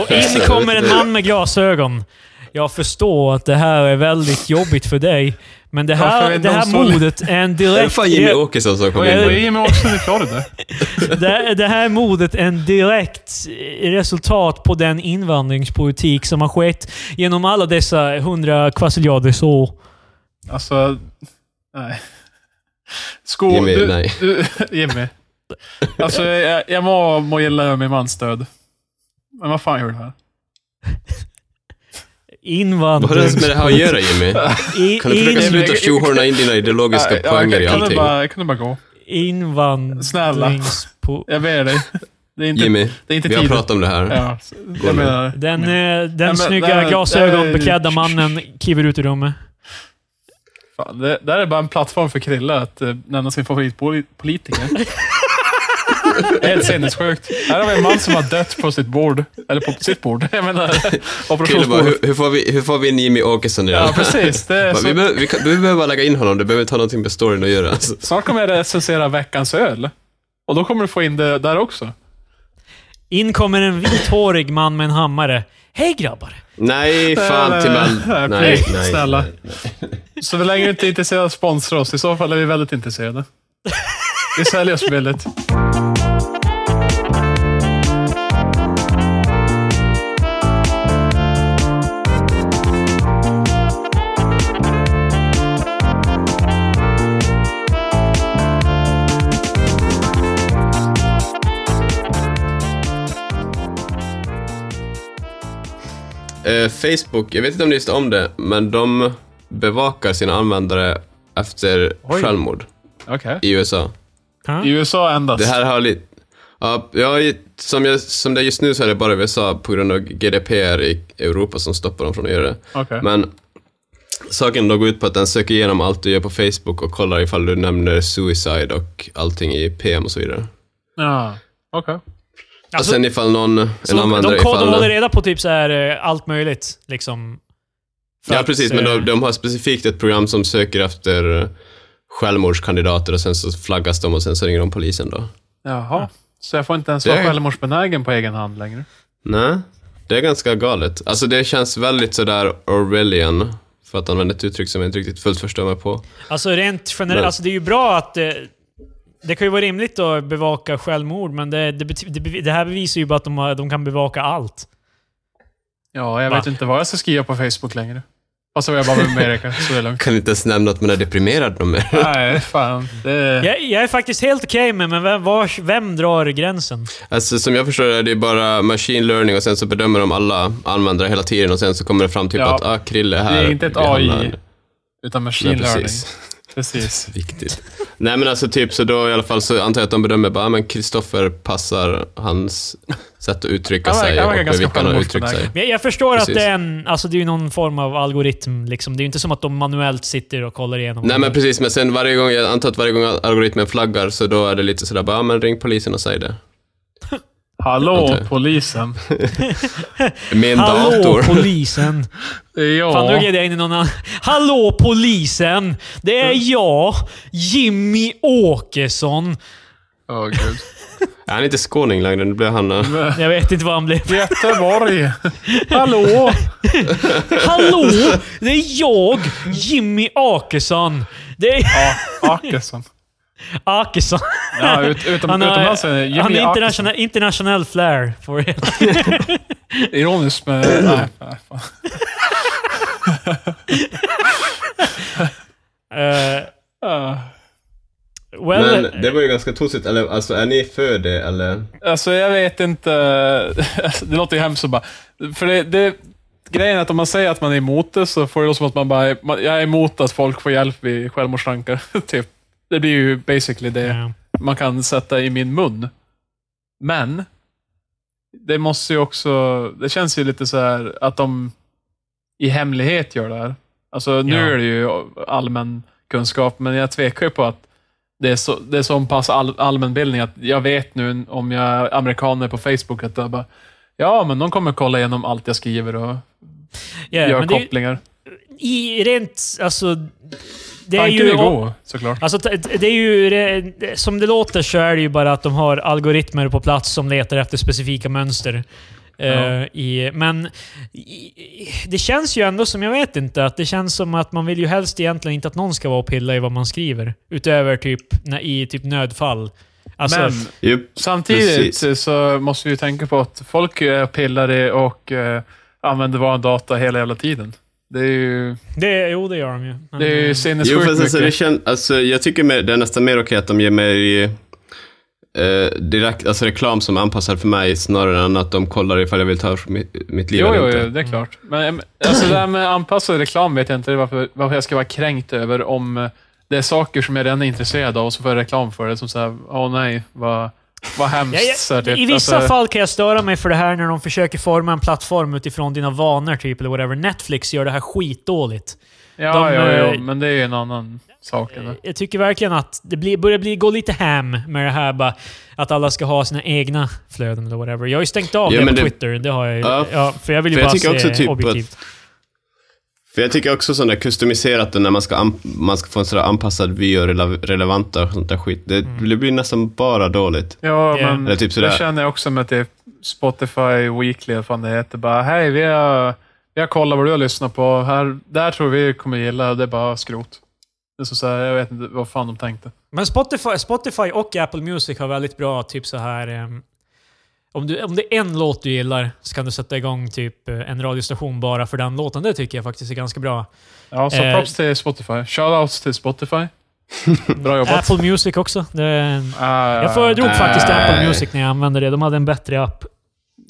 S1: Och in kommer en man med glasögon. Jag förstår att det här är väldigt jobbigt för dig, Men det
S3: Varför
S1: här,
S3: vet
S1: det
S3: de
S1: här
S3: så lite?
S1: modet är en
S2: Är det
S1: direkt...
S2: fan Jimmy Åkesson som kom in?
S3: Det är
S2: nu?
S3: Jimmy Åkesson i Florida.
S1: Det, det här mordet är en direkt resultat på den invandringspolitik som har skett genom alla dessa hundra kvasiljarders år.
S3: Alltså, nej. Skål.
S2: Jimmy,
S3: du,
S2: nej.
S3: Du, Jimmy. Alltså, jag, jag må, må gilla min mans död. Men vad fan gör du här?
S2: Vad har det ens med
S1: Invandrings...
S2: det här att göra Jimmy?
S1: I,
S2: Kan du försöka
S1: in,
S2: sluta tjohorna in dina ideologiska
S3: Ja, ja,
S2: poänger i
S3: kan, kan, du
S2: allting?
S3: bara, kan du bara gå? Snälla.
S1: invandringspo...
S3: Jag ber dig. Det är inte,
S2: Jimmy,
S3: det är inte
S2: vi har
S3: tid.
S2: pratat om det här.
S3: Ja, så-
S2: nu.
S3: jag menar,
S1: Den, eh, den
S3: men
S1: snygga
S3: där-
S1: glasögonbeklädda
S3: där-
S1: mannen kliver ut ur rummet.
S3: fan, det, det här är bara en plattform för Krille att eh, nämna sin favoritpolitiker. Det är Helt sinnessjukt. Här har vi en man som har dött på sitt bord. Eller på sitt bord. Jag menar,
S2: Krille bara,
S3: operationsbordet.
S2: hur, hur, får vi, hur får vi in Jimmy Åkesson i det
S3: Ja,
S2: här?
S3: precis. Det är
S2: Bara,
S3: så
S2: Vi, behöver, vi, kan, vi behöver bara lägga in honom, det behöver inte ha någonting med storyn att göra. Alltså.
S3: Snart kommer jag recensera veckans öl. Och då kommer du få in det där också.
S1: In kommer en vithårig man med en hammare. Hej grabbar!
S2: Nej, fan
S3: nej,
S2: Timell.
S3: nej,
S2: Nej,
S3: please,
S2: nej.
S3: snälla. Så länge du inte är intresserad av att sponsra oss, i så fall är vi väldigt intresserade. Vi säljer oss billigt.
S2: Eh, Facebook, jag vet inte om ni visste om det, men de bevakar sina användare efter
S3: Oj.
S2: självmord
S3: Okej.
S2: i USA.
S1: Ha?
S3: I USA endast.
S2: Det här har lite... Ja, jag, som, jag, som det är just nu så är det bara USA på grund av GDPR i Europa som stoppar dem från att göra det.
S3: Okej.
S2: Men saken då går ut på att den söker igenom allt du gör på Facebook och kollar ifall du nämner suicide och allting i PM och så vidare.
S3: Ja. Okej.
S1: Alltså,
S2: och sen ifall någon, en
S1: de, de,
S2: användare
S1: kod- de
S2: ifall...
S1: håller reda på typ så här eh, allt möjligt. Liksom. För
S2: ja,
S1: att,
S2: precis, men
S1: eh,
S2: de, de har specifikt ett program som söker efter eh, självmordskandidater och sen så flaggas de och sen så ringer de polisen då.
S3: Jaha. Så jag får inte ens
S2: Det
S3: vara
S2: är-
S3: självmordsbenägen på egen hand längre?
S2: Nej, det är ganska galet. Alltså det känns väldigt sådär Orwellian, för att använda ett uttryck som jag inte riktigt fullt förstår mig på.
S1: Alltså rent generellt,
S2: Men-
S1: alltså det är ju bra att... Eh, det kan ju vara rimligt att bevaka självmord, men det, det, bety- det, bevi- det här bevisar ju bara att de, har, de kan bevaka allt.
S3: Ja, jag
S1: Va?
S3: vet inte vad jag ska skriva på Facebook längre. Fast så är jag bara med Amerika, så det är lugnt.
S2: Kan inte ens nämna att man är deprimerad någon mer.
S3: Nej, fan. Det...
S1: Jag, jag är faktiskt helt okej med, men vem, vars, vem drar gränsen?
S2: Alltså som jag förstår det, det är bara machine learning och sen så bedömer de alla användare hela tiden och sen så kommer det fram typ
S3: Ja.
S2: att ah, Krille här.
S3: Det är inte ett
S2: vi hamnar-
S3: AI, utan machine
S2: Nej,
S3: learning.
S2: precis.
S3: Precis.
S2: Viktigt. Nej men alltså typ så då i alla fall så antar jag att de bedömer bara, ah, men Kristoffer passar hans sätt att uttrycka
S3: Han verkar-
S2: sig
S3: han
S2: och
S3: verkar
S2: med
S3: ganska
S2: vilka han har uttryckt sig.
S3: självmordsbenägen.
S1: Men jag, jag förstår
S2: Precis.
S1: att det är en, alltså det är ju någon form av algoritm. Liksom. Det är ju inte som att de manuellt sitter och kollar igenom.
S2: Nej men precis, men sen varje gång, jag antar att varje gång algoritmen flaggar så då är det lite sådär bara, ah, men ring polisen och säg det.
S3: Hallå,
S2: Okej.
S3: polisen.
S2: Min
S1: Hallå
S2: dator.
S1: polisen!
S3: Det är jag.
S1: Fan, nu gled jag in i någon annan. Hallå polisen! Det är jag, Jimmy Åkesson.
S3: Åh, gud.
S2: Han är inte skåning längre, nu blir han... eh,
S1: Jag vet inte vad han blev.
S3: Göteborg! Hallå!
S1: Hallå! Det är jag, Jimmy Åkesson. Det är
S3: Ja, Åkesson.
S1: Åkesson.
S3: Ja, ut, utom,
S1: Han, har,
S3: utomlands är det Jimmy
S1: han är
S3: Åkesson.
S1: internationell, internationell flair. For it.
S3: Ironiskt, men... nej, nej, fan.
S1: Eh,
S3: Ja.
S1: well,
S2: Men det var ju ganska tossigt, eller alltså är ni för det eller?
S3: Alltså, jag vet inte. Alltså, Det låter ju hemskt att bara... För det, det, grejen är att om man säger att man är emot det så får det låta som att man bara... är- man- Jag är emot att folk får hjälp vid självmordstankar, typ. Det blir ju basically det.
S1: eh,
S3: man kan sätta i min mun. Men, det måste ju också, det känns ju lite så här att de i hemlighet gör det här. Alltså nu
S1: Ja.
S3: är det ju allmän kunskap, men jag tvekar ju på att det är så, det är så pass all, allmänbildning att jag vet nu om jag är amerikaner på Facebook att jag bara, ja men de kommer kolla igenom allt jag skriver och
S1: yeah,
S3: gör
S1: men det är ju-
S3: kopplingar.
S1: i rent... Alltså, det
S3: Det
S1: är
S3: Tanken
S1: ju...
S3: är god, såklart.
S1: Alltså, t- t- det är ju, det- som det låter så är det ju bara att de har algoritmer på plats som letar efter specifika mönster. Eh, i, men i, i- det känns ju ändå som, jag vet inte, att det känns som att man vill ju helst egentligen inte att någon ska vara och pilla i vad man skriver. Utöver typ när, i typ nödfall. Alltså,
S3: Men
S2: Yep.
S3: samtidigt
S2: precis.
S3: så måste vi ju tänka på att folk är pillare och eh, använder vår data hela jävla tiden. Det är ju,
S1: det, jo, det gör de ju. Men,
S3: det är ju
S1: eh,
S2: Jo,
S3: sinnessjukt
S2: fast alltså, det
S3: mycket.
S2: kän, alltså, jag tycker mer, det är nästan mer okej att de ger mig eh, direkt, alltså, reklam som är anpassad för mig snarare än att de kollar ifall jag vill ta över mitt, mitt liv
S3: Jo,
S2: eller
S3: jo,
S2: inte.
S3: jo, det är klart. Men em, alltså, det här med anpassad reklam vet jag inte varför, varför jag ska vara kränkt över om eh, det är saker som jag redan är intresserad av och så får jag reklam för det som säger åh nej, vad, vad hemskt. så
S1: Ja,
S3: här,
S1: jag,
S3: typ.
S1: I vissa
S3: Alltså,
S1: fall kan jag störa mig för det här när de försöker forma en plattform utifrån dina vanor, typ, eller whatever. Netflix gör det här skitdåligt.
S3: Ja,
S1: de,
S3: ja,
S1: eh,
S3: ja, men det är ju en annan sak. Eller?
S1: Jag tycker verkligen att det blir, börjar bli, gå lite ham med det här bara, att alla ska ha sina egna flöden eller whatever. Jag har ju stängt av
S2: Ja,
S1: det på
S2: men det-
S1: Twitter. Det har jag ju.
S2: Ja,
S1: ja, för jag vill ju
S2: för jag
S1: bara
S2: tycker
S1: se
S2: också typ att-
S1: objektivt.
S2: För jag tycker också sådana kustomiserat när man ska, an- man ska få en sådär anpassad vy och rela- relevanta och sånt där skit. Det,
S1: Mm.
S2: det blir nästan bara dåligt.
S3: Ja,
S1: Ja.
S2: Eller
S3: men
S2: typ sådär.
S3: det känner jag också med det Spotify Weekly, eller fan det heter. Bara, hej, vi har, vi har kollat vad du har lyssnat på. Här, det här tror vi kommer gilla. Det är bara skrot. Det är så så här, jag vet inte vad fan de tänkte.
S1: Men Spotify, Spotify och Apple Music har väldigt bra typ så här... ehm, om, du, om det är en låt du gillar så kan du sätta igång typ eh, en radiostation bara för den låten. Det tycker jag faktiskt är ganska bra.
S3: Ja, så
S1: Eh.
S3: props till Spotify. Shoutouts till Spotify. Bra jobbat.
S1: Apple Music också. Det är en...
S3: Ah,
S1: Alltså, Jag föredrog faktiskt
S2: Nej.
S1: Apple Music när jag använde det. De hade en bättre app,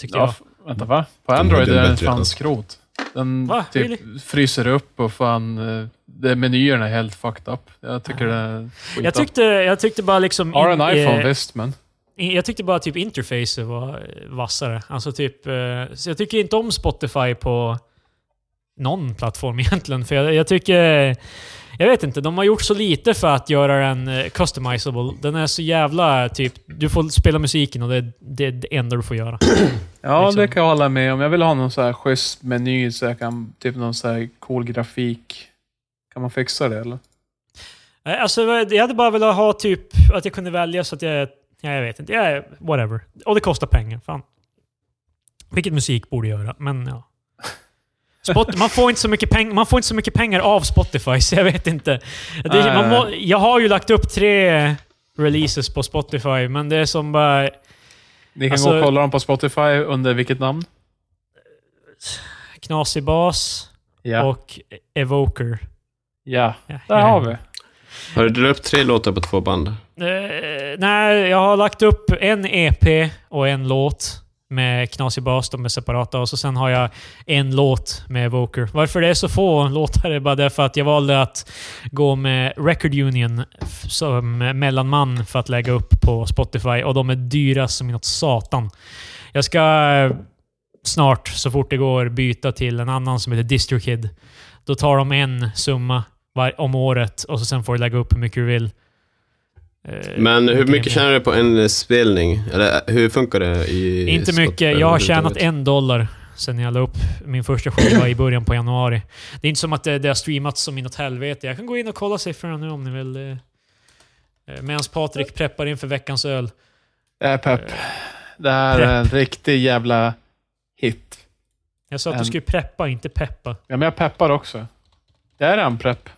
S1: tyckte
S3: Eh, Ja,
S1: jag.
S3: f- vänta, va? På
S2: Den
S3: Android
S2: hade
S3: är
S2: en
S3: den
S2: bättre
S3: fan
S2: app.
S3: skrot. Den
S1: Va?
S3: typ
S1: Really?
S3: fryser upp och fan... eh, Det, menyerna är helt fucked up. Jag tycker det är
S1: Ah. Jag
S3: skitapp.
S1: tyckte, jag tyckte bara liksom...
S3: Har en
S1: eh,
S3: iPhone, visst, men...
S1: i- Jag tyckte bara typ interface var eh, vassare. Alltså typ... eh, Så jag tycker inte om Spotify på någon plattform egentligen. För jag, jag tycker... Jag vet inte, de har gjort så lite för att göra den eh, customizable. Den är så jävla typ... Du får spela musiken och det, det är det enda du får göra.
S3: Ja,
S1: liksom.
S3: det kan jag hålla med om. Jag vill ha någon så här schysst meny, så jag kan, typ någon så här cool grafik. Kan man fixa det eller?
S1: Nej, Alltså, jag hade bara velat ha typ att jag kunde välja så att jag... Ja, jag vet inte. Ja, whatever. Och det kostar pengar. Fan. Vilket musik borde göra, men ja. Spot, man, får inte så mycket peng, man får inte så mycket pengar av Spotify, så jag vet inte. Det, man må, jag har ju lagt upp tre releases på Spotify, men det är som bara...
S3: Ni kan
S1: Alltså-
S3: gå och kolla dem på Spotify under vilket namn?
S1: Knasig bas
S3: Ja.
S1: och Evoker.
S3: ja.
S1: Ja,
S3: Där har vi.
S2: Har du dragit upp tre låtar på två band?
S1: Eh, nej, jag har lagt upp en EP och en låt med knasig bas, de är separata. Och så sen har jag en låt med Evoker. Varför det är så få låtar är bara därför att jag valde att gå med Record Union f- som mellanman för att lägga upp på Spotify. Och de är dyra som inåt satan. Jag ska eh, snart, så fort det går, byta till en annan som heter DistroKid. Då tar de en summa var- om året och så sen får du lägga upp hur mycket du vill. Eh,
S2: Men hur
S1: vilken
S2: mycket
S1: är-
S2: tjänar du på en eh, spelning? Eller eh, hur funkar det i
S1: Inte
S2: Spotify
S1: mycket. Jag har tjänat
S2: överhuvudtaget?
S1: en dollar sen jag la upp min första skiva i början på januari. Det är inte som att det, det har streamats som inåt helvete. Jag kan gå in och kolla siffrorna nu om ni vill. eh, Medan Patrik preppar inför veckans öl. Eh,
S3: Jag är pepp. Det här är en riktig jävla hit.
S1: Jag sa att du
S3: Ehm.
S1: skulle preppa, inte peppa.
S3: Ja, men jag peppar också. Det här är en prepp.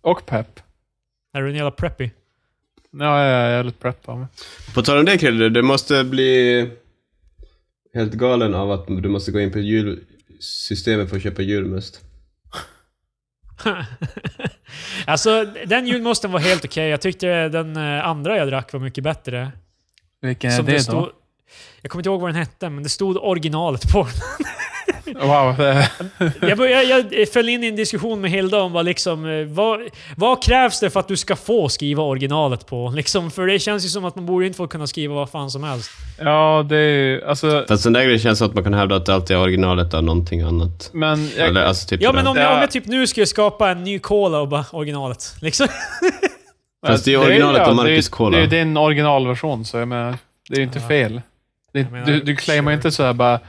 S3: Och pepp.
S1: Är du en jävla preppy?
S3: Ja, jag är jävligt prepp av mig.
S2: På tal om det Krille, du måste bli helt galen av att du måste gå in på julsystemet för att köpa julmust.
S1: alltså, den julmusten var helt okej. Jag tyckte den eh, andra jag drack var mycket bättre.
S3: Vilken är
S1: Som
S3: det
S1: stod, jag kommer inte ihåg vad den hette, men det stod originalet på den.
S3: då? Wow. det-
S1: jag, bör- jag, jag föll in i en diskussion med Hilda om vad, liksom, eh, vad, vad krävs det för att du ska få skriva originalet på? Liksom, för det känns ju som att man borde inte få kunna skriva vad fan som helst.
S3: Ja, det är ju... Alltså,
S2: Fast den där grejen känns som att man kan hävda att det alltid är originalet av någonting annat.
S3: men... Jag,
S2: Eller alltså typ
S1: Ja,
S2: det
S1: men
S2: där.
S1: om jag, om
S3: Ja.
S1: jag typ nu skulle skapa en ny cola och bara originalet. Liksom.
S2: Fast det är ju
S3: ju-
S2: originalet
S3: ja,
S2: av
S3: Alltså, det är ju-
S2: Marcus Cola.
S3: Det är ju din originalversion, så jag menar, det är ju inte
S1: Ja.
S3: fel. Det,
S1: Jag menar,
S3: du du claimar
S1: sure.
S3: inte så här bara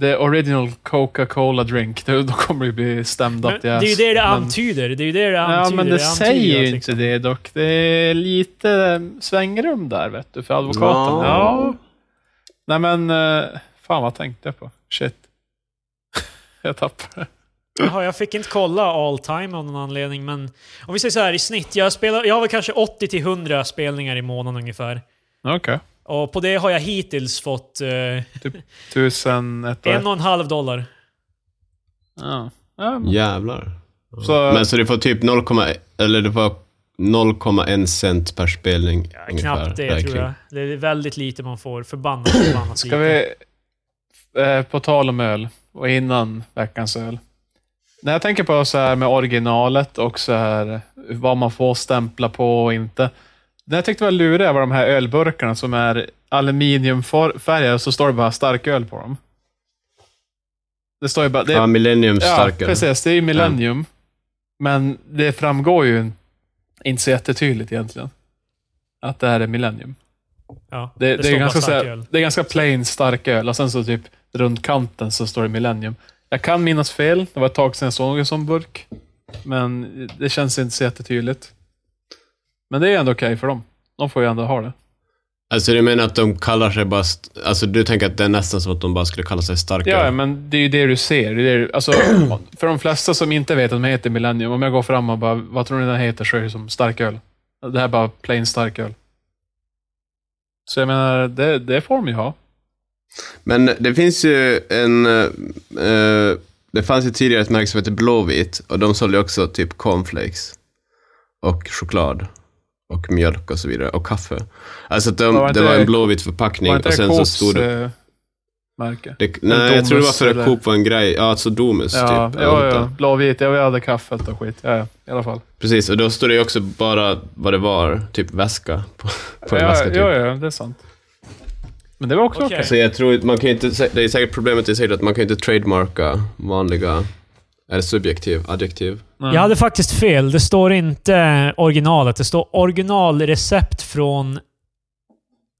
S3: the original Coca-Cola drink. Då, då kommer du bli stämd
S1: Men
S3: att
S1: Det är ju det det antyder. Det är ju det det
S3: Ja,
S1: antyder.
S3: men det
S1: antyder
S3: säger
S1: att
S3: ju inte
S1: liksom-
S3: det dock. Det är mm, lite svängrum där, vet du, för advokaten.
S2: Ja.
S3: Ja. Nej, men eh, Fan, vad tänkte jag på? Shit. jag tappade det.
S1: Jaha, jag fick inte kolla all time av någon anledning, men om vi säger så här i snitt. Jag, spelar, jag har väl kanske 80-100 spelningar i månaden ungefär.
S3: Okej.
S1: Och på det har jag hittills fått eh,
S3: Tusen ett
S1: en och en halv dollar.
S3: ja. Ja, men-
S2: Jävlar.
S3: Så-
S2: Men så du får typ 0,1 eller det var 0,1 cent per spelning ungefär.
S1: Knappt det
S2: där
S1: tror
S2: kring.
S1: jag. Det är väldigt lite man får. Förbannat, förbannat
S3: Ska
S1: lite.
S3: vi, eh, på tal om öl och innan veckans öl. När jag tänker på så här med originalet och så här vad man får stämpla på och inte. Det jag tyckte var luriga var de här ölburkarna som är aluminiumfärgade och så står det bara starköl på dem. Det står ju bara... Det
S2: Ja, Millennium starkare.
S3: Ja, precis. Det är ju Millennium. Men det framgår ju inte så jättetydligt egentligen. Att det här är Millennium.
S1: Ja,
S3: Det, det,
S1: står
S3: är
S1: bara
S3: ganska,
S1: starköl.
S3: såhär, det är ganska plain starköl och sen så typ runt kanten så står det Millennium. Jag kan minnas fel. Det var ett tag sedan jag såg en sån burk. Men det känns inte så jättetydligt. Men det är ändå okej för dem. De får ju ändå ha det.
S2: Alltså du menar att de kallar sig bara... St- alltså du tänker att det är nästan som att de bara skulle kalla sig starkare?
S3: Ja, men det är ju det du ser. Det är det, du- alltså, för de flesta som inte vet att de heter Millennium, om jag går fram och bara, vad tror ni den heter? Så är det som starköl. Det här är bara plain starköl. Så jag menar, det, det får de ju ha.
S2: Men det finns ju en... eh, eh, det fanns ju tidigare ett märke som hette Blåvit och de sålde ju också typ cornflakes och choklad och mjölk och så vidare och kaffe. Alltså att de,
S3: Var
S2: det
S3: inte
S2: var
S3: det-
S2: en blåvit förpackning
S3: Var inte
S2: och sen
S3: det
S2: så
S3: Coops
S2: stod det...
S3: eh, märke?
S2: det nej, jag
S3: Domus
S2: tror det var för
S3: eller-
S2: att Coop var en grej. Ja, alltså Domus
S3: Ja,
S2: typ.
S3: ja,
S2: eller
S3: ja.
S2: något.
S3: Blåvit. Ja, vi hade kaffet och skit. Ja, ja, i alla fall.
S2: Precis, och då stod det ju också bara vad det var, typ väska på, på en
S3: Ja,
S2: väska typ.
S3: ja, ja, det är sant. Men det var också
S1: Okej.
S3: okej.
S2: Så jag tror, man kan ju inte, sä- det är säkert problemet är säkert att man kan ju inte trademarka vanliga, är det subjektiv, adjektiv?
S3: Mm.
S1: Jag hade faktiskt fel. Det står inte originalet. Det står originalrecept från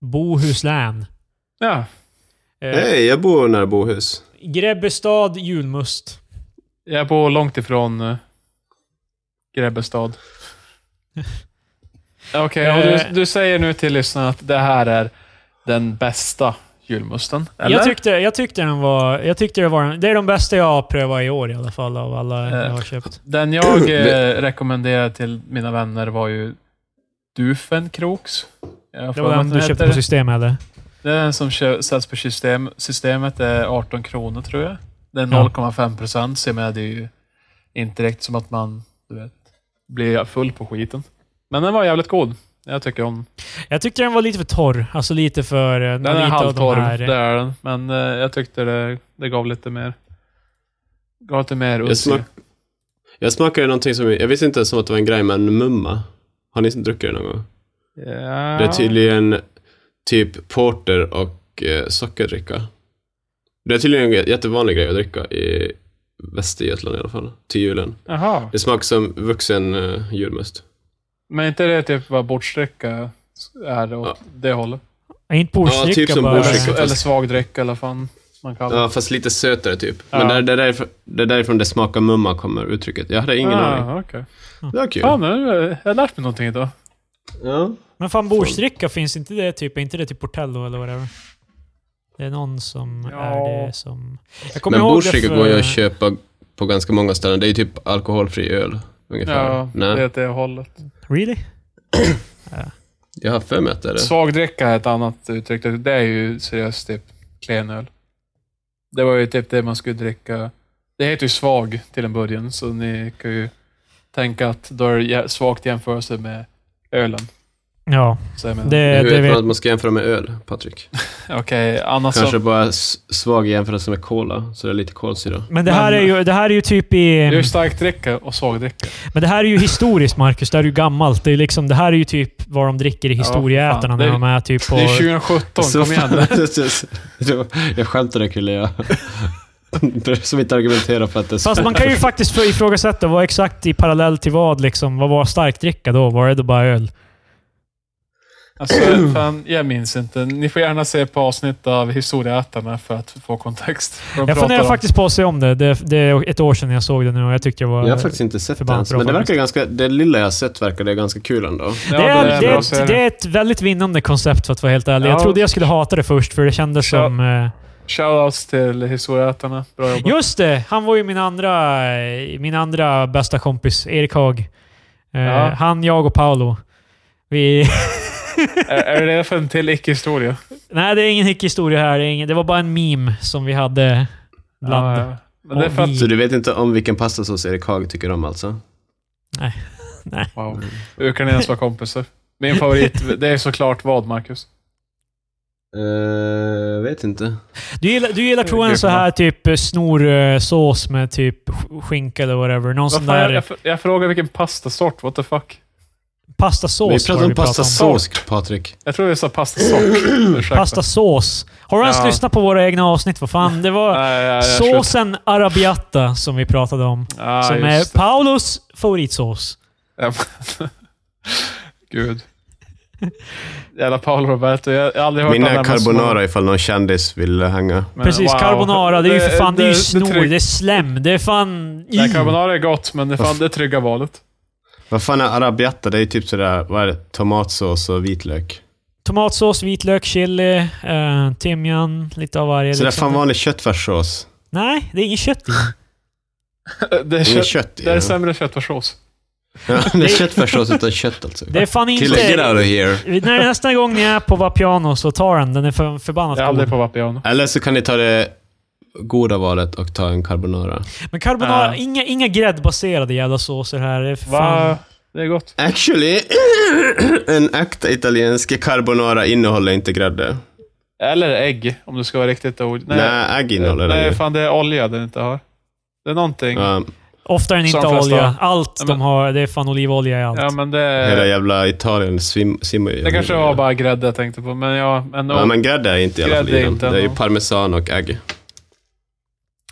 S1: Bohus län.
S3: Ja,
S1: Eh,
S2: Hej, jag bor nära Bohus.
S1: Grebbestad julmust.
S3: jag bor långt ifrån eh, Grebbestad. Okej, och
S1: Eh.
S3: du, du säger nu till lyssnarna att det här är den bästa julmusten, eller?
S1: Jag tyckte, jag tyckte den var... Jag tyckte det var den- Det är de bästa jag har prövat i år i alla fall, av
S3: Eh,
S1: alla jag har köpt.
S3: Den jag eh, rekommenderade till mina vänner var ju Dufenkroks. Jag har
S1: Det
S3: för
S1: var
S3: mig
S1: den
S3: att
S1: du
S3: heter
S1: köpte
S3: det.
S1: på Systemet, eller?
S3: Det är den som kö- säljs på system. systemet är 18 kronor tror jag. Det är
S1: Ja.
S3: 0,5 procent, så jag menar, det är ju inte direkt som att man du vet, blir full på skiten. Men den var jävligt god. Jag tycker om
S1: Jag tyckte den var lite för torr. Alltså lite för... eh,
S3: den. Den är
S1: lite av de
S3: halvtorr,
S1: här, eh,
S3: det är den. Men eh, jag tyckte det, det gav lite mer. Gav lite mer
S2: Jag,
S3: uss. i-
S2: smak, jag smakade någonting som, jag visste inte ens om att det var en grej, men mumma. Har ni druckit det någon gång?
S3: Ja.
S2: Det är tydligen typ porter och eh, sockerdricka. Det är tydligen en jättevanlig grej att dricka i Västergötland i alla fall, till julen.
S3: Jaha.
S2: Det smakar som vuxen eh, julmust.
S3: Men inte det typ vad bordsdricka är åt
S2: Ja.
S3: det hållet?
S1: Inte bordsdricka
S2: Ja, typ som
S1: bara.
S2: bordsdricka.
S3: Eller, eller svagdricka eller vad fan man kallar
S2: Ja,
S3: det.
S2: fast lite sötare typ.
S3: Ja.
S2: Men det är där, därifrån, det är därifrån det smakar mumma kommer uttrycket. Jag hade ingen aning.
S3: ah, okay.
S2: Det var kul.
S3: Fan, nu har eh, jag lärt mig någonting idag.
S2: Ja.
S1: Men fan, bordsdricka, finns inte det typ? Är inte det typ Portello eller whatever? Det är någon som
S3: Ja.
S1: är det som... Jag kommer
S2: Men
S1: ihåg det
S2: bordsdricka
S1: för-
S2: går
S3: eh,
S2: ju att köpa på ganska många ställen. Det är ju typ alkoholfri öl ungefär.
S3: Ja,
S2: Nej,
S3: det är åt det hållet.
S1: Really?
S2: jag har för mig att det är det.
S3: Svagdricka är ett annat uttryck. Det är ju seriöst typ klenöl. Det var ju typ det man skulle dricka. Det heter ju svag till en början, så ni kan ju tänka att då är det jä- svagt i jämförelse med ölen.
S1: Ja,
S3: Så jag menar.
S1: det,
S2: Hur
S1: det
S2: vet
S1: vet
S2: man att man ska jämföra med öl, Patrik?
S3: Okej, annars så-
S2: Kanske bara s- svag i jämförelse med cola, så det är lite kolsyra.
S1: Men det här,
S3: Men-
S1: är ju, det här är ju typ i...
S3: Det är ju starkdricka och svagdricka.
S1: Men det här är ju historiskt, Marcus. Det här är ju gammalt. Det, är liksom, det här är ju typ vad de dricker i
S3: Ja,
S1: historieätarna
S3: fan.
S1: när
S3: Det är-
S1: de är typ på...
S3: Det är 2017, kom igen nu.
S2: jag skämtade Krille, jag... Som inte argumenterar för att det är
S1: Fast man kan ju faktiskt för- ifrågasätta vad exakt i parallell till vad liksom. Vad var starkdricka då? Var det då bara öl?
S3: Alltså, fan, jag minns inte. Ni får gärna se på avsnitt av Historieätarna för att få kontext. Vad de
S1: Jag
S3: pratar
S1: funderar
S3: om.
S1: faktiskt på att se om det. det. Det är ett år sedan jag såg det nu och jag tyckte det var...
S2: Jag har faktiskt inte sett det
S1: förbannat
S2: ens,
S1: bra
S2: men det verkar
S1: faktiskt.
S3: alltså.
S2: ganska... Det lilla jag har sett verkar det ganska kul ändå.
S3: Ja,
S1: det, är, det,
S3: en
S1: är
S3: bra
S1: ett,
S3: serie.
S1: det är ett väldigt vinnande koncept för att vara helt ärlig.
S3: Ja.
S1: Jag trodde jag skulle hata det först, för det kändes
S3: Ja.
S1: som... Eh,
S3: Shoutouts till historieätarna. Bra jobbat.
S1: Just det! Han var ju min andra, eh, min andra bästa kompis, Erik Haag. Eh,
S3: Ja.
S1: Han, jag och Paolo. Vi...
S3: är, är det därför en till icke-historia?
S1: Nej, det är ingen hickhistoria här. Det, är ingen, det var bara en meme som vi hade bland...
S3: Ja, ja. Men det är för att...
S2: Så du vet inte om vilken pastasås Erik Haag tycker om alltså?
S3: Wow. Hur kan ni ens vara kompisar? Min favorit, det är såklart vad, Marcus?
S2: Eh, vet inte.
S1: Du gillar, du gillar tror jag en så här typ eh, snorsås med typ sk- skinka eller whatever. Någon
S3: Vad
S1: sån
S3: fan,
S1: där
S3: jag, jag, jag frågar vilken pastasort, what the fuck?
S1: pastasås.
S2: Vi
S1: var
S2: pratar
S1: det
S2: om pastasås,
S3: Sort.
S2: Patrik.
S3: Jag tror vi sa pastasort. Ursäkta.
S1: Pastasås. Har du ens
S3: Ja.
S1: lyssnat på våra egna avsnitt? Vad fan? Det var
S3: Nej, jag- jag slutar.
S1: såsen arabiata som vi pratade om.
S3: Ah,
S1: som
S3: just
S1: är
S3: det.
S1: Paulos favoritsås.
S3: Ja, men- Gud. Jävla Paolo Roberto. Jag har aldrig hört
S2: Mina
S3: han nämnas som-
S2: carbonara ifall någon kändis vill hänga.
S3: Men
S1: Precis,
S3: wow.
S1: carbonara. Det är ju för fan, det, är ju snor. Det,
S3: trygg-
S1: är slem. Det är fan... i.
S3: Nej, carbonara är gott, men det är fan det trygga valet.
S2: Vad fan är arabiata? Det är ju typ sådär, vad är det? Tomatsås och vitlök.
S1: Tomatsås, vitlök, chili, eh, timjan, lite av varje.
S2: Sådär
S1: liksom.
S2: fan vanlig köttfärssås.
S1: Nej, det är inget kött i.
S3: Eh, Det är,
S2: Inget
S3: kött,
S2: kött i
S3: det är
S2: den.
S3: sämre köttfärssås.
S2: Ja, det är köttfärssås utan kött alltså.
S1: Det är fan
S2: Killar, get out
S1: inte...
S2: of here.
S1: När, nästa gång ni är på Vapiano så tar den. Den är för, förbannat
S3: Jag är aldrig
S1: god.
S3: på Vapiano.
S2: Eller så kan ni ta det goda valet och ta en carbonara.
S1: Men carbonara,
S3: Ah.
S1: inga, inga gräddbaserade jävla såser här. Det är för fan...
S3: Va? Det är gott.
S2: Actually, en äkta italiensk carbonara innehåller inte grädde.
S3: Eller ägg, om du ska vara riktigt ord.
S2: Nej, ägg innehåller det
S3: Nej,
S2: ju.
S3: fan det är olja den inte har. Det är någonting. Ja,
S2: Ja,
S1: Ofta är den inte
S3: Som de flesta.
S1: olja. Allt
S3: Ja,
S1: de har, det är fan olivolja i allt.
S3: men det,
S2: hela jävla Italien svim, simmar ju.
S3: det kanske var bara grädde jag tänkte på. Men ja, men,
S2: Ja, men grädde är inte i alla fall
S3: Grädde
S2: i
S3: är
S2: dem.
S3: inte
S2: Det är ju
S3: ändå.
S2: parmesan och ägg.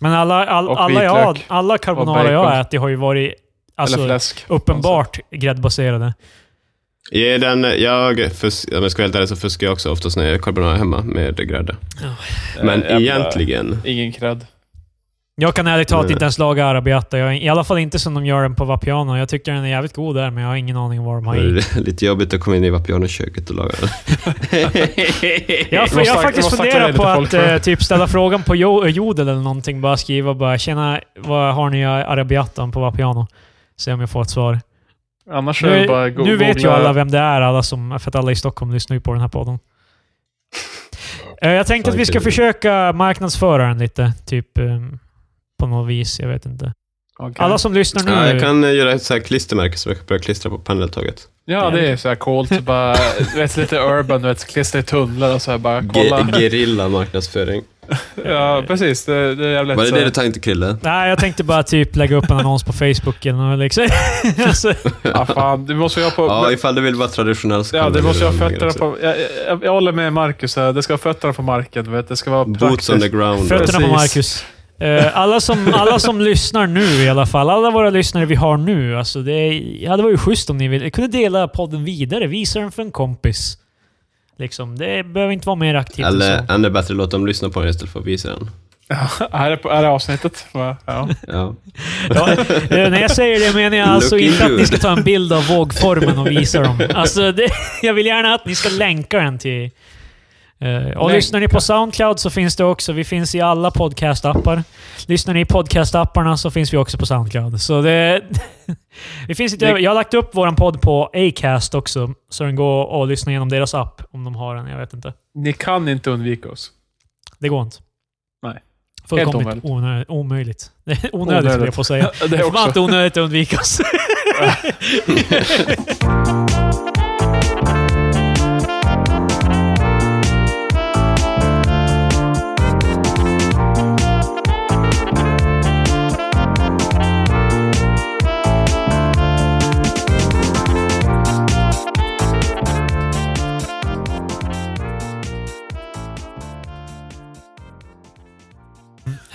S1: Men alla, all,
S3: Och
S1: alla, jag,
S3: vitlök.
S1: alla carbonara
S3: Och
S1: jag
S3: bacon.
S1: har ätit har ju varit
S3: eller
S1: alltså,
S3: fläsk.
S1: uppenbart gräddbaserade.
S2: Ge den, jag, fusk, om jag ska vara helt ärlig så fuskar jag också oftast när jag gör carbonara hemma med grädde. Men
S3: Eh, jävla-
S2: egentligen,
S3: Ingen cred.
S1: Jag kan ärligt talat
S2: Mm.
S1: inte ens laga arabiata. Jag, I alla fall inte som de gör den på Vapiano. Jag tycker den är jävligt god där, men jag har ingen aning om vad de har i.
S2: det är lite jobbigt att komma in i Vapiano-köket och laga
S1: Jag,
S2: det.
S1: har- jag
S3: måste-
S1: har faktiskt
S3: måste
S1: funderat
S3: aktivera
S1: på
S3: lite folk
S1: att
S3: för-
S1: eh, typ ställa frågan på Jo- Jodel eller någonting. Bara skriva bara “Tjena, vad har ni i arabiatan på Vapiano?” Se om jag får ett svar.
S3: Annars är det bara
S1: Nu,
S3: go-
S1: nu vet ju
S3: googla-
S1: alla vem det är, alla som, för att alla i Stockholm lyssnar ju på den här podden. Eh, Jag tänkte att vi ska
S2: Fan, kul.
S1: försöka marknadsföra den lite, typ eh, på något vis. Jag vet inte.
S3: Okej.
S1: Alla som lyssnar nu...
S2: Ja, jag kan eh, göra ett så här klistermärke som jag kan börja klistra på pendeltåget.
S3: Ja, det är så här coolt. Bara, du vet, lite urban, du vet, klistra i tunnlar och så här bara kolla.
S2: Ge- Gerilla marknadsföring.
S3: Ja, precis. Det, det är jävligt...
S2: Var det
S3: så
S2: det
S3: här-
S2: du tänkte
S3: eh,
S2: Krille?
S1: Nej, jag tänkte bara typ lägga upp en annons på Facebook eller något liksom. alltså,
S3: Ja, fan. Du måste ju ha på...
S2: Ja, ifall du vill vara traditionell så
S3: Ja,
S2: kan
S3: det
S2: du
S3: måste
S2: göra
S3: jag ha fötterna
S2: någonting
S3: på... Jag, jag, jag håller med Marcus här. Det ska ha fötterna på marken, du vet. Det ska vara
S2: också. Boots on the
S3: praktiskt.
S2: ground.
S1: fötterna på
S3: Precis.
S1: Marcus. Eh, alla, som, alla som lyssnar nu i alla fall, alla våra lyssnare vi har nu, alltså det, är- ja, det var ju schysst om ni ville. kunde dela podden vidare, visa den för en kompis. Liksom, det behöver inte vara mer aktivt än så.
S2: Eller ännu bättre, låt dem lyssna på den istället för att visa den.
S3: Här är, på- här är avsnittet. va? Ja.
S2: Ja.
S1: Ja, eh, när jag säger det menar jag alltså
S2: Looking
S1: inte att ni
S2: good.
S1: ska ta en bild av vågformen och visa dem. Alltså, det, jag vill gärna att ni ska länka den till... eh, och
S3: Länka.
S1: lyssnar ni på Soundcloud så finns det också. Vi finns i alla podcastappar. Lyssnar ni i podcastapparna så finns vi också på Soundcloud. Så det... Vi finns inte,
S3: Ni-
S1: över- jag har lagt upp vår podd på Acast också, så den går att lyssna igenom deras app om de har den. Jag vet inte.
S3: Ni kan inte undvika oss.
S1: Det går inte.
S3: Nej.
S1: Fullkomligt onödigt.
S3: omöjligt.
S1: omöjligt. Det är Onödigt skulle jag
S3: Onödigt.
S1: få säga.
S3: Det
S1: Det är
S3: är
S1: förbannat
S3: också.
S1: onödigt att undvika oss.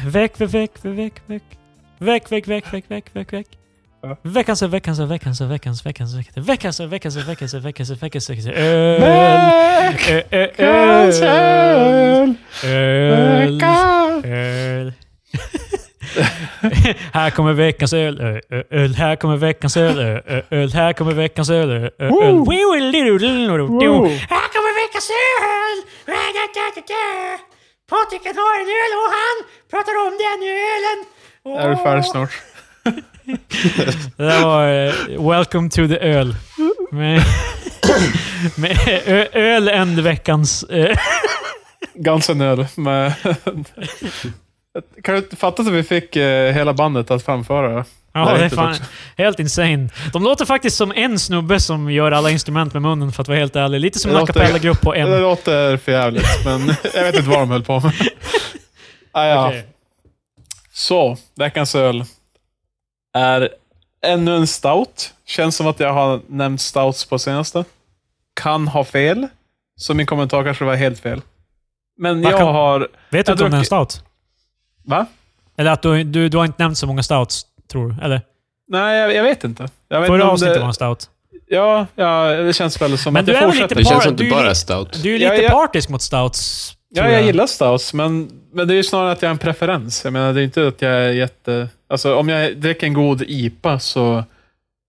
S1: Väck, väck, väck, väck, väck. Väck, väck, väck, väck, väck, väck, väck. alltså,
S3: Ja.
S1: Veckans, veckans, veckans, veckans, veckans, veckans, veckans, veckans, veckans, veckans, veckans, veckans, öl. Ö, ö,
S3: Veckans
S1: öl.
S3: öl!
S1: Öl.
S3: Veckans-
S1: Öl. alltså, här kommer veckans öl. Ö, ö, Öl. Här kommer veckans öl. Ö, ö, Öl. Här kommer veckans öl. Ö, ö, Öl.
S3: Woo!
S1: Wee, wee, little, little, little,
S3: Woo!
S1: Här kommer veckans öl!
S5: Patrik har en öl och han pratar om den ölen.
S3: Är du färdig snart?
S1: Det där var eh, Welcome to the öl. Med, med ö, öl and veckans... Eh,
S3: Gansen öl med... kan du inte fatta att vi fick eh, hela bandet att framföra det?
S1: ja, det är
S3: riktigt
S1: fan
S3: också.
S1: helt insane. De låter faktiskt som en snubbe som gör alla instrument med munnen, för att vara helt ärlig. Lite som en
S3: Det
S1: a
S3: låter-
S1: cappella-grupp på
S3: Det
S1: en.
S3: låter för jävligt, men jag vet inte vad de höll på med. Ah, ja.
S1: Okej.
S3: Så, veckans öl är ännu en stout. Känns som att jag har nämnt stouts på senaste. Kan ha fel, så min kommentar kanske var helt fel. Men
S1: Vad
S3: jag
S1: kan-
S3: har...
S1: Vet du inte
S3: Jag
S1: om det är en
S3: druck-
S1: stout?
S3: Va?
S1: Eller att du, du, du har inte nämnt så många stouts, tror du? Eller?
S3: Nej, jag, jag vet inte. Jag vet inte
S1: Förra
S3: om
S1: avsnittet
S3: det-
S1: var en stout.
S3: Ja, ja, det känns väl som
S1: Men
S3: att
S1: du
S3: jag
S1: är väl
S3: fortsätter.
S2: Det
S1: Bara-
S2: känns som att
S1: du
S2: det
S1: är
S2: bara
S1: li-
S2: är stout.
S1: Du är lite
S3: Ja, ja.
S1: partisk mot stouts.
S3: Ja,
S1: tror
S3: jag gillar stouts, men, men det är ju snarare att jag har en preferens. Jag menar, det är inte att jag är jätte... Alltså, om jag dricker en god IPA så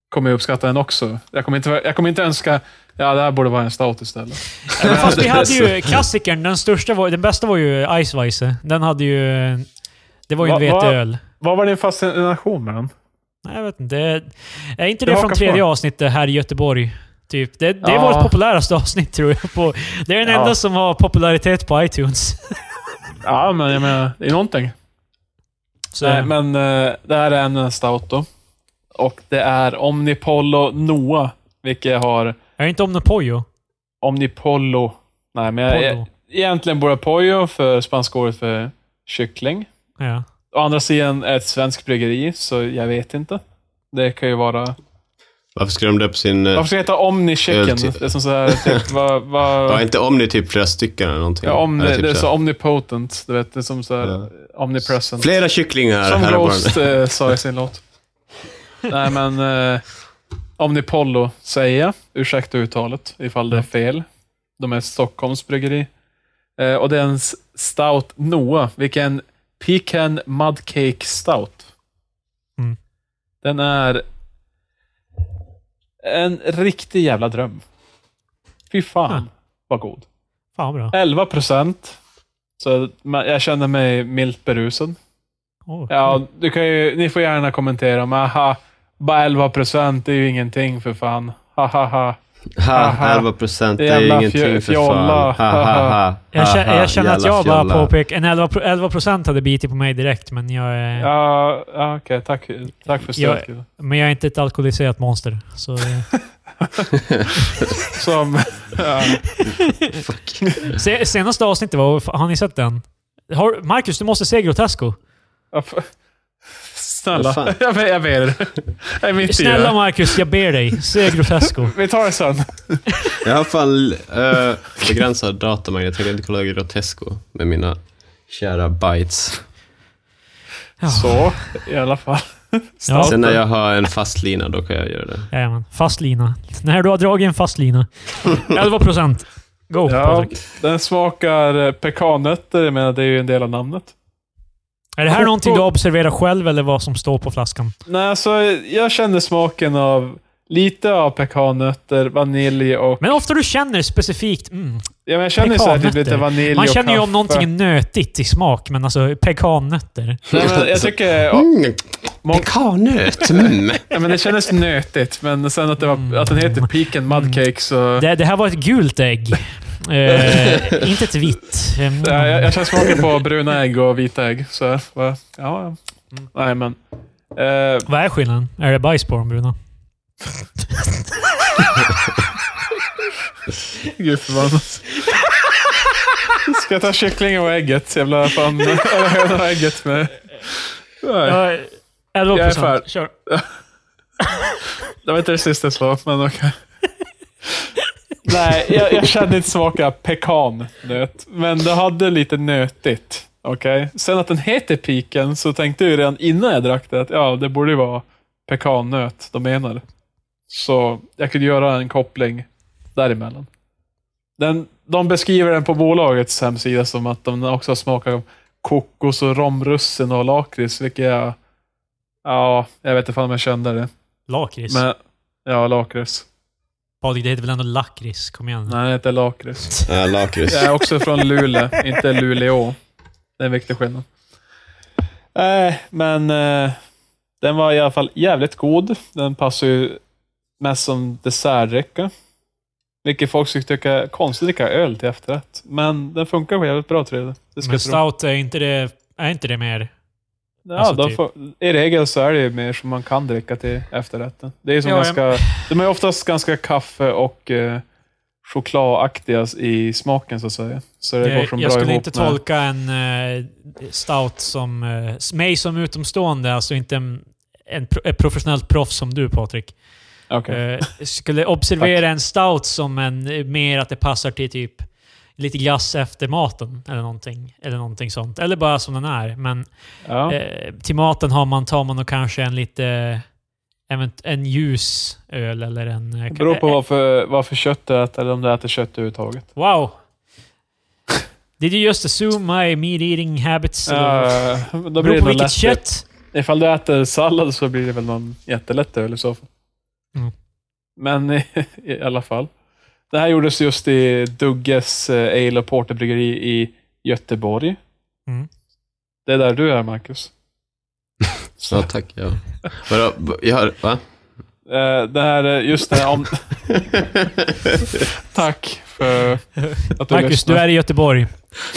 S3: kommer jag uppskatta den också. Jag kommer inte, jag kommer inte önska... Ja, det här borde vara en stout istället.
S1: Men Fast vi hade ju klassikern, den största var, den bästa var ju Eisweisse. Den hade ju... Det var ju en
S3: Va- va-
S1: veteöl.
S3: Vad var din fascination med den?
S1: Nej, jag vet inte. Det- Är inte
S3: Det
S1: det från
S3: hakar
S1: tredje
S3: på.
S1: avsnittet här i Göteborg? Typ. Det, det
S3: Ja.
S1: var vårt populäraste avsnitt tror jag. På, det är den
S3: Ja.
S1: enda som har popularitet på iTunes.
S3: Ja, men jag menar, det är någonting.
S1: Så,
S3: Nej, men eh, det här är en stout då. Och det är Omnipollo Noah, vilket jag har
S1: Är det inte om Napojo?
S3: Omnipollo. Nej, men jag,
S1: Pollo.
S3: egentligen borde jag pollo för spanska ordet för kyckling.
S1: Ja.
S3: Å andra sidan är ett svenskt bryggeri, så jag vet inte. Det kan ju vara...
S2: Varför skrev de det på sin... eh,
S3: Varför ska det heta Omni Chicken?
S2: Öl-
S3: Det är som så här, typ, vad...
S2: Ja,
S3: vad
S2: inte om ni typ flera stycken eller någonting.
S3: ja, om,
S2: Eller
S3: det,
S2: typ
S3: är
S2: så
S3: så
S2: här,
S3: omnipotent. Du vet, det är som så här, omnipresent.
S2: Flera kycklingar
S3: som
S2: här på
S3: Ghost
S2: den.
S3: eh, sa i sin låt. Nej, men... Eh, Omnipollo säger jag. Ursäkta uttalet ifall det
S1: Mm.
S3: är fel. De är Stockholms bryggeri. Eh, och det är en s- stout Noah, vilken är en Pecan Mudcake Stout.
S1: Mm.
S3: Den är en riktig jävla dröm. Fy fan
S1: Ja.
S3: vad god.
S1: Fan bra.
S3: 11 procent. Så ma- jag känner mig milt berusad.
S1: Oh.
S3: Ja, du kan ju, ni får gärna kommentera, men aha, bara 11 procent är ju ingenting för fan. Ha, ha, ha.
S2: Ha,
S3: Aha.
S2: 11 procent, det är
S3: Jävla
S2: ingenting för
S3: fjolla.
S2: fan. Ha, ha, ha.
S1: Jag,
S2: Ha,
S1: känner,
S2: ha,
S1: jag känner att
S2: jävla
S1: jag bara
S2: fjolla.
S1: påpekar... En 11, pro- 11 procent hade bitit på mig direkt, men jag, är-
S3: Ja, ja, okej. tack, tack för
S1: Jag-
S3: stödet. kille.
S1: men jag är inte ett alkoholiserat monster. Så, eh.
S3: Som... ja.
S1: Se- Senaste avsnittet var... Har ni sett den? Har, Marcus, du måste se Grotesco.
S3: Ja, för- Snälla.
S2: Vad fan?
S3: Jag ber, jag ber er. Jag är mitt i
S1: Snälla
S3: det.
S1: Marcus, jag ber dig. Se Grotesco.
S3: Vi tar det sen.
S2: Jag har fan eh, begränsad datamängd. Jag tänker inte kolla Grotesco med mina kära bytes.
S3: Så, i alla fall.
S1: Ja.
S2: Sen när jag har en fast lina, då kan jag göra det.
S1: Jajamän. Fast lina. När du har dragit en fast lina. 11 procent. Go,
S3: Ja,
S1: Patrik.
S3: den smakar eh, pekannötter, jag menar det är ju en del av namnet.
S1: Är det här någonting du observerar själv eller vad som står på flaskan?
S3: Nej, alltså jag känner smaken av lite av pekannötter, vanilj och...
S1: Men ofta du känner specifikt... Mm,
S3: Ja, men jag känner ju så här, typ
S1: Pekannötter.
S3: lite vanilj
S1: man
S3: och
S1: känner ju om
S3: kaffe.
S1: någonting är nötigt i smak, men alltså pekannötter.
S3: Nej, men jag tycker...
S2: Mm,
S3: Må-
S2: Pekannöt! Mm.
S3: Ja, men det kändes nötigt, men sen att, det var, att den heter Pecan Mudcake så...
S1: Det, det här var ett gult ägg. Eh, inte ett vitt. Mm.
S3: Ja, jag, jag känner smaken på bruna ägg och vita ägg. Så, jag bara, ja, ja. Nej, men... Eh,
S1: Vad är skillnaden? Är det bajs på dem, Bruno?
S3: Gud förbannat. Ska jag ta kycklingen och ägget? Jävla fan... Eller hönan och ägget med... Nej,
S1: Ja, 11
S3: Jag är för.
S1: procent. Kör.
S3: det var inte det sista jag sa, men okej. Nej, jag, jag kände inte smaken av pekan, nöt. Men det hade lite nötigt. Okej? Sen att den heter piken så tänkte jag ju redan innan jag drack det att ja, det borde ju vara pekannöt de menar. Så jag kunde göra en koppling däremellan. Den, de beskriver den på bolagets hemsida som att de också smakar av kokos och romrussin och lakrits, vilket jag... Ja, jag vet inte fan om jag kände det.
S1: Lakrits.
S3: Men, ja, lakrits.
S1: Patrik, det heter väl ändå lakrits? Kom igen.
S3: Nej, det heter lakrits.
S2: Ja, Lakrits.
S3: Jag är också från Luleå, inte Luleå. Den väckte skenan. Nej, men eh, den var i alla fall jävligt god. Den passar ju mest som dessertdricka. Vilket folk skulle tycka är konstigt att dricka öl till efterrätt. Men den funkar jävligt bra tror jag. Det ska
S1: Men
S3: jag tro.
S1: stout, är inte det, är inte det mer...
S3: Ja,
S1: alltså,
S3: då
S1: typ.
S3: får, I regel så är det ju mer som man kan dricka till efterrätten. Det är ju som
S1: Ja, ja.
S3: ganska, De är oftast ganska kaffe och eh, chokladaktiga i smaken så att säga. Så det går
S1: Jag,
S3: som
S1: jag
S3: bra
S1: skulle
S3: ihop
S1: inte
S3: med-
S1: tolka en eh, stout som... eh, s- mig som utomstående, alltså inte en, en, pro- ett professionellt proffs som du Patrik.
S3: Okej.
S1: Eh, skulle observera en stout som en eh, mer att det passar till typ lite glass efter maten eller någonting, eller någonting sånt. Eller bara som den är. Men
S3: Ja.
S1: eh, till maten har man, tar man nog kanske en lite... event- En ljus öl eller en... eh,
S3: Det beror på vad för, vad för kött du äter eller om du äter kött överhuvudtaget.
S1: eh, Wow! Did you just assume my meat eating habits? Uh,
S3: Uh, då blir
S1: beror
S3: det
S1: på
S3: nog
S1: vilket
S3: lätt.
S1: kött.
S3: Ifall du äter sallad så blir det väl någon jättelätt öl i så fall.
S1: Mm.
S3: Men i, i alla fall. Det här gjordes just i Dugges eh, Ale och Porterbryggeri i Göteborg.
S1: Mm.
S3: Det är där du är, Marcus.
S2: Ja, tack. Ja. Vadå? Jag har, va?
S3: Eh, Det här, eh, just det här om... Tack för att du
S1: Marcus, du
S3: lyssnar.
S1: är i Göteborg.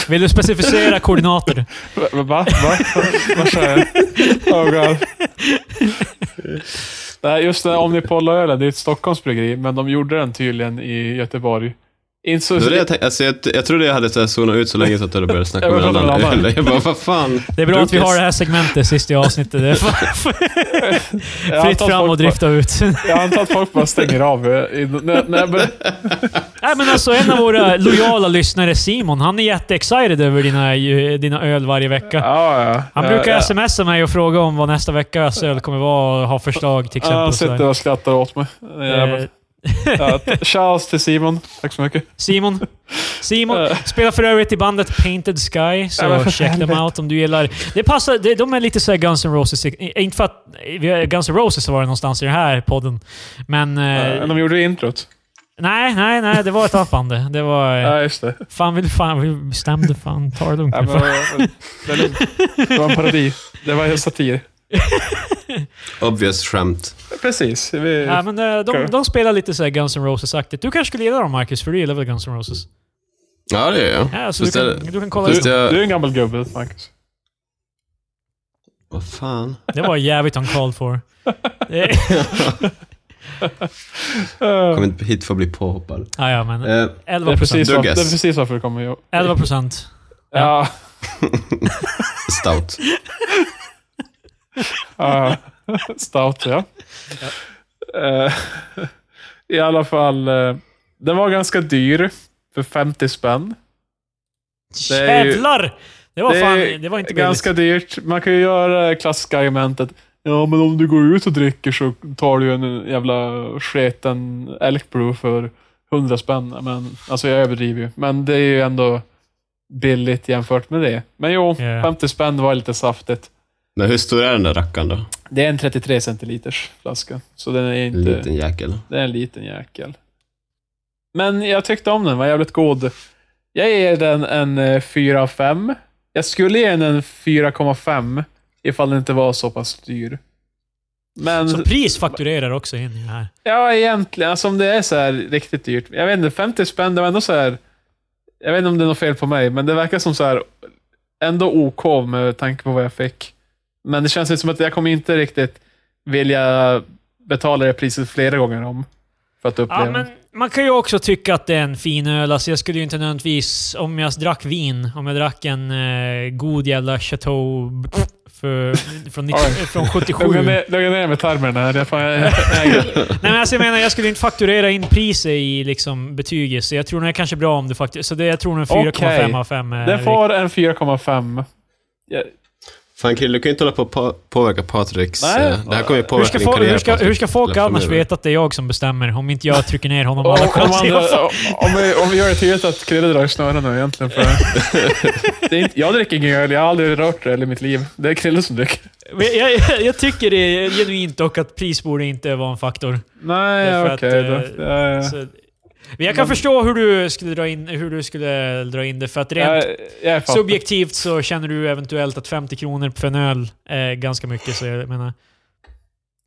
S1: Vill du specificera koordinater?
S3: Va? Va? Va? Vad sa jag? Oh god. Det här, just den här Omnipolla-ölen, det är ett Stockholmsbryggeri, men de gjorde den tydligen i Göteborg. Inte så...
S2: Det var det jag, tänkte- alltså, jag, jag trodde jag hade så här zonat ut så länge så att jag började snacka om
S3: Jag
S2: en
S3: vill prata
S2: annan
S3: om
S2: öl. Jag bara, vad fan?
S1: Det är bra att vi
S2: Lukas.
S1: har det här segmentet sist i avsnittet. Det är f-
S3: Jag antar
S1: fritt
S3: att
S1: fram
S3: folk
S1: och drifta ut.
S3: bara- Jag antar att folk bara stänger av. eh, i- När, när jag börjar,
S1: Nej, men alltså, en av våra lojala lyssnare, Simon, han är jätteexcited över dina, ju- dina öl varje vecka.
S3: ja, ja.
S1: Han
S3: Ja,
S1: brukar
S3: ja.
S1: smsa mig och fråga om vad nästa veckas öl kommer vara och ha förslag till exempel.
S3: Han
S1: och sådär.
S3: sitter och skrattar åt mig.
S1: Eh,
S3: Jävlar. Ja, t- Shouts till Simon. Tack så mycket.
S1: Simon. Simon
S3: Eh.
S1: spelar för övrigt i bandet Painted Sky, så
S3: Ja, men för
S1: check them
S3: helvete.
S1: out om du gillar. Det passar, det, de är lite såhär Guns N' Roses. eh, Inte för att vi har- Guns N' Roses var det någonstans i den här podden, men... eh,
S3: Eh, De gjorde introt.
S1: Nej, nej, nej. Det var ett annat band det. Det var... eh,
S3: Ja, just det.
S1: Fan vill fan... Vi bestämde fan. Ta det lugnt
S3: Ja,
S1: nu.
S3: men,
S1: fan.
S3: det är lugnt. det var en parodi. Det var en satir.
S2: Obvious skämt.
S3: Precis. Vi,
S1: Nej, men eh, de,
S3: Okej.
S1: de spelar lite så här Guns N' Roses-aktigt. Du kanske skulle gilla dem Marcus, för du gillar väl Guns N' Roses?
S2: Ja, det gör jag.
S1: Ja, så du,
S2: Fast
S1: kan,
S2: det-
S1: du kan kolla
S2: fast
S1: upp.
S2: det-
S1: dem.
S2: jag-
S3: Du är en gammal gubbe, Marcus.
S2: Vad fan?
S1: Det var jävligt uncalled for. Eh,
S3: Eh,
S2: Kom inte hit för att bli påhoppad.
S1: ja, ja, men
S2: Eh,
S1: 11
S3: Det är, precis
S1: procent.
S3: varför, det är
S2: Dugges.
S3: precis varför du kommer ihåg.
S1: 11 procent.
S3: Ja.
S2: stout.
S3: ja. Stout, ja. Eh, I alla fall, eh, den var ganska dyr. För 50 spänn. Det är ju-
S1: Jävlar! Det var
S3: det är
S1: fan... Det var inte
S3: ganska dyrt. Man kan ju göra det klassiska argumentet. Ja, men om du går ut och dricker så tar du ju en jävla sketen elk brew för 100 spänn. Men, alltså jag överdriver ju. Men det är ju ändå billigt jämfört med det. Men jo,
S1: Ja.
S3: 50 spänn var lite saftigt.
S2: Men hur stor är den där rackaren då?
S3: Det är en 33 centiliters flaska. Så den är
S2: En
S3: inte...
S2: liten jäkel.
S3: Det är en liten jäkel. Men jag tyckte om den, var jävligt god. Jag ger den en eh, 4 av 5. Jag skulle ge den en 4,5 ifall det inte var så pass dyr. Men
S1: billigt. Så pris fakturerar också in i det här.
S3: ja, egentligen, alltså om det är så här riktigt dyrt. Jag vet inte, 50 spänn, det var ändå så här. Jag vet inte om det är något fel på mig, men det verkar som så här ändå OK med tanke på vad jag fick. Men det känns ju som att jag kommer inte riktigt vilja betala det priset flera gånger om för att uppleva
S1: Ja,
S3: det.
S1: men man kan ju också tycka att det är en fin öl. Alltså, jag skulle ju inte nödvändigtvis, om jag drack vin, om jag drack en eh, god jävla Chateau för, från, 90,
S3: Oj.
S1: från 77.
S3: Lugna
S1: Nej,
S3: ner, lugna ner med tarmen här. Jag, fan, jag, jag,
S1: men alltså, jag menar, jag skulle inte fakturera in priset i liksom, betyget, så jag tror nog det är kanske bra om du faktiskt... Så det, jag tror nog en 4,5
S3: Okej.
S1: av 5 är
S3: den får en 4,5. Ja,
S2: Fan Krille, du kan ju inte hålla på och pa- påverka Patriks...
S3: Nej.
S2: eh, det här kommer ju
S1: hur
S2: påverka
S1: ska,
S2: din
S1: folk,
S2: karriär,
S1: hur, ska,
S2: Patrik.
S1: hur ska folk
S2: Eller
S1: annars
S2: framöver.
S1: veta att det är jag som bestämmer om inte jag trycker ner honom
S3: och-
S1: alla
S3: om, man,
S1: konstiga
S3: om, om, vi, om vi gör det tydligt att Krille drar i snören nu egentligen. För det är inte, jag dricker ingen öl. Jag har aldrig rört öl i mitt liv. Det är Krille som dricker.
S1: Men jag, jag, jag tycker det är genuint dock att pris borde inte vara en faktor.
S3: Nej,
S1: Därför
S3: okej.
S1: att,
S3: då.
S1: eh,
S3: Ja, ja.
S1: Så, Men jag kan förstå hur du skulle dra in, hur du skulle dra in det, för att rent
S3: Jag, jag fattar.
S1: subjektivt så känner du eventuellt att 50 kronor för en öl är ganska mycket. Så jag menar,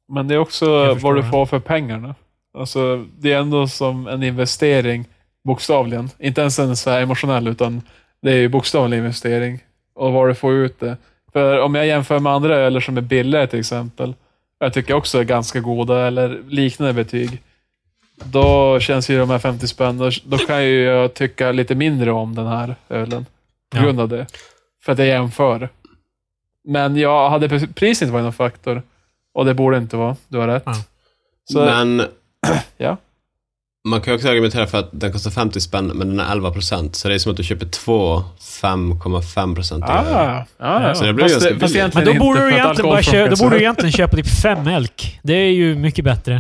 S3: Men det är
S1: Jag
S3: också
S1: förstår
S3: vad du
S1: det.
S3: får för pengarna. Alltså, det är ändå som en investering, bokstavligen. Inte ens en så här emotionell, utan det är ju bokstavlig investering. Och vad du får ut det. För om jag jämför med andra öler som är billigare till exempel, och jag tycker också är ganska goda eller liknande betyg, då känns ju de här 50 spänn, då- då kan ju jag tycka lite mindre om den här ölen. På
S1: Ja.
S3: grund av det. För att jag jämför. Men jag hade pr- priset inte varit någon faktor. Och det borde inte vara. Du har rätt.
S1: Ja.
S3: Så,
S2: Men...
S3: Ja.
S2: Man kan ju också argumentera för att den kostar 50 spänn, men den är 11 procent. Så det är som att du köper två 5,5 procent.
S3: ah, ah,
S1: Så
S2: det blir ganska billigt.
S1: men då borde, du
S3: för att
S1: egentligen bara
S3: alkohol
S1: köpa, då
S3: funkar
S1: borde du
S3: så.
S1: egentligen köpa typ fem elk. Det är ju mycket bättre.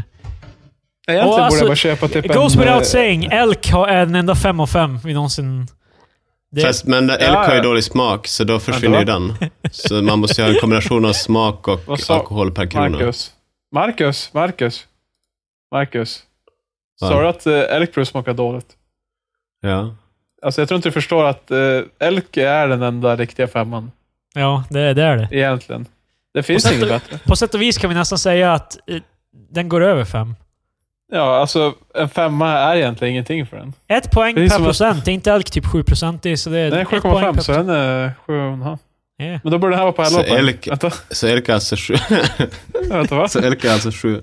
S3: Egentligen
S1: Och
S3: borde
S1: alltså,
S3: jag bara köpa typ
S1: It goes
S3: en... eh,
S1: without saying, elk har en enda fem av fem vi någonsin... Det,
S2: Fast, men elk
S3: Ja,
S2: har ju
S3: ja.
S2: dålig smak, så då försvinner ju den. Så man måste ju ha en kombination av smak och
S3: Vad sa-
S2: alkohol per krona.
S3: Marcus. Marcus, Marcus. Marcus.
S2: Va?
S3: Sa du att eh, Elk Brew smakar dåligt?
S2: Ja.
S3: Alltså jag tror inte du förstår att eh, Elk är den enda riktiga femman.
S1: ja, det, det är det.
S3: Egentligen. Det finns
S1: Och
S3: inget bättre.
S1: På sätt och vis kan vi nästan säga att eh, den går över fem.
S3: Ja, alltså en femma är egentligen ingenting för den.
S1: Ett poäng
S3: Det är
S1: per
S3: som att-
S1: procent. Det är inte elk typ 7 procent. Det är, så det är
S3: Den är
S1: ett poäng per
S3: 7,5 så
S1: procent.
S3: den är 7,5.
S1: Ja.
S3: Men då borde den här vara på 11
S2: Så
S3: poäng.
S2: Elk-
S3: Vänta,
S2: Så elk är alltså sju...
S3: vänta va?
S2: så elk är alltså sju...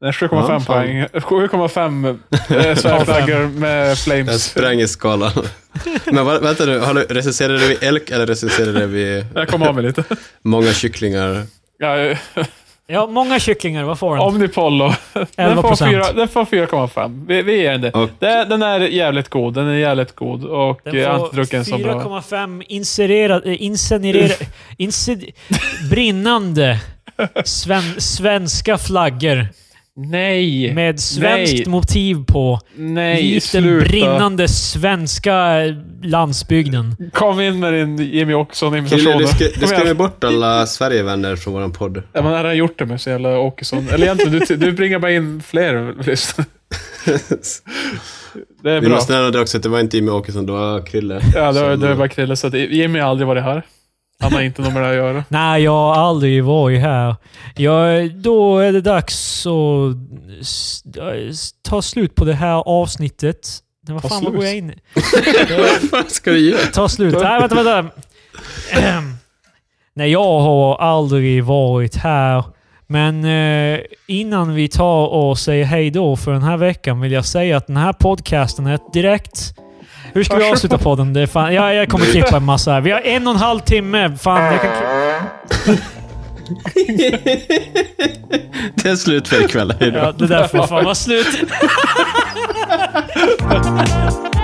S3: Den är
S2: Ja,
S3: 7,5
S2: fan.
S3: poäng. 7,5 eh, svärdflaggor med
S2: Jag
S3: flames.
S2: spränger skalan. Men vad- vänta nu, har du, recenserade vi elk eller recenserade vi
S3: Jag kom av mig lite.
S2: många kycklingar?
S3: Ja, eh,
S1: ja, många kycklingar. Vad får den?
S3: Omnipollo. Den
S1: 11
S3: får
S1: procent.
S3: 4 den får 4,5. Vi, vi ger den det.
S2: Och-
S3: Den- Den är jävligt god. Den är jävligt god och
S1: Den
S3: jag har inte druckit en så bra.
S1: 4,5 insererad, eh, incinererad, inci- brinnande sven, svenska flaggor
S3: Nej,
S1: med svenskt
S3: Nej.
S1: motiv på.
S3: nej,
S1: Likt den
S3: sluta.
S1: brinnande svenska landsbygden.
S3: Kom in med din Jimmy
S2: Krille,
S3: Åkesson-imitation.
S2: du, skri, du
S3: Kom
S2: skrev
S3: igen.
S2: ju bort alla Sverigevänner från vår podd.
S3: Ja, man har gjort det med så jävla Åkesson. Eller egentligen, du, du bringar bara in fler lyssnare. Det är
S2: Vi
S3: bra.
S2: måste nämna det också, att det var inte Jimmy Åkesson, det var Krille.
S3: Ja, det var,
S2: Som-
S3: det var bara Krille. Så att Jimmy har aldrig varit här. Han har inte något med det här att göra.
S1: Nej, jag har aldrig varit här. Ja, då är det dags att s- s- ta slut på det här avsnittet. Nej, Vad
S3: Ta
S1: fan, vad går
S3: slut?
S1: jag in i?
S2: Vad fan ska du göra?
S1: Ta slut. Nej, vänta, vänta. Ehm, Nej, jag har aldrig varit här. Men eh, innan vi tar och säger hej då för den här veckan vill jag säga att den här podcasten är ett direkt... Hur ska vi
S3: Varsågod.
S1: avsluta podden? Det är fan, jag, jag kommer klippa en massa här. Vi har en och en halv timme. Fan, jag kan klippa.
S2: Det är slut för ikväll. Hej då.
S1: Ja, det där får fan vara slut.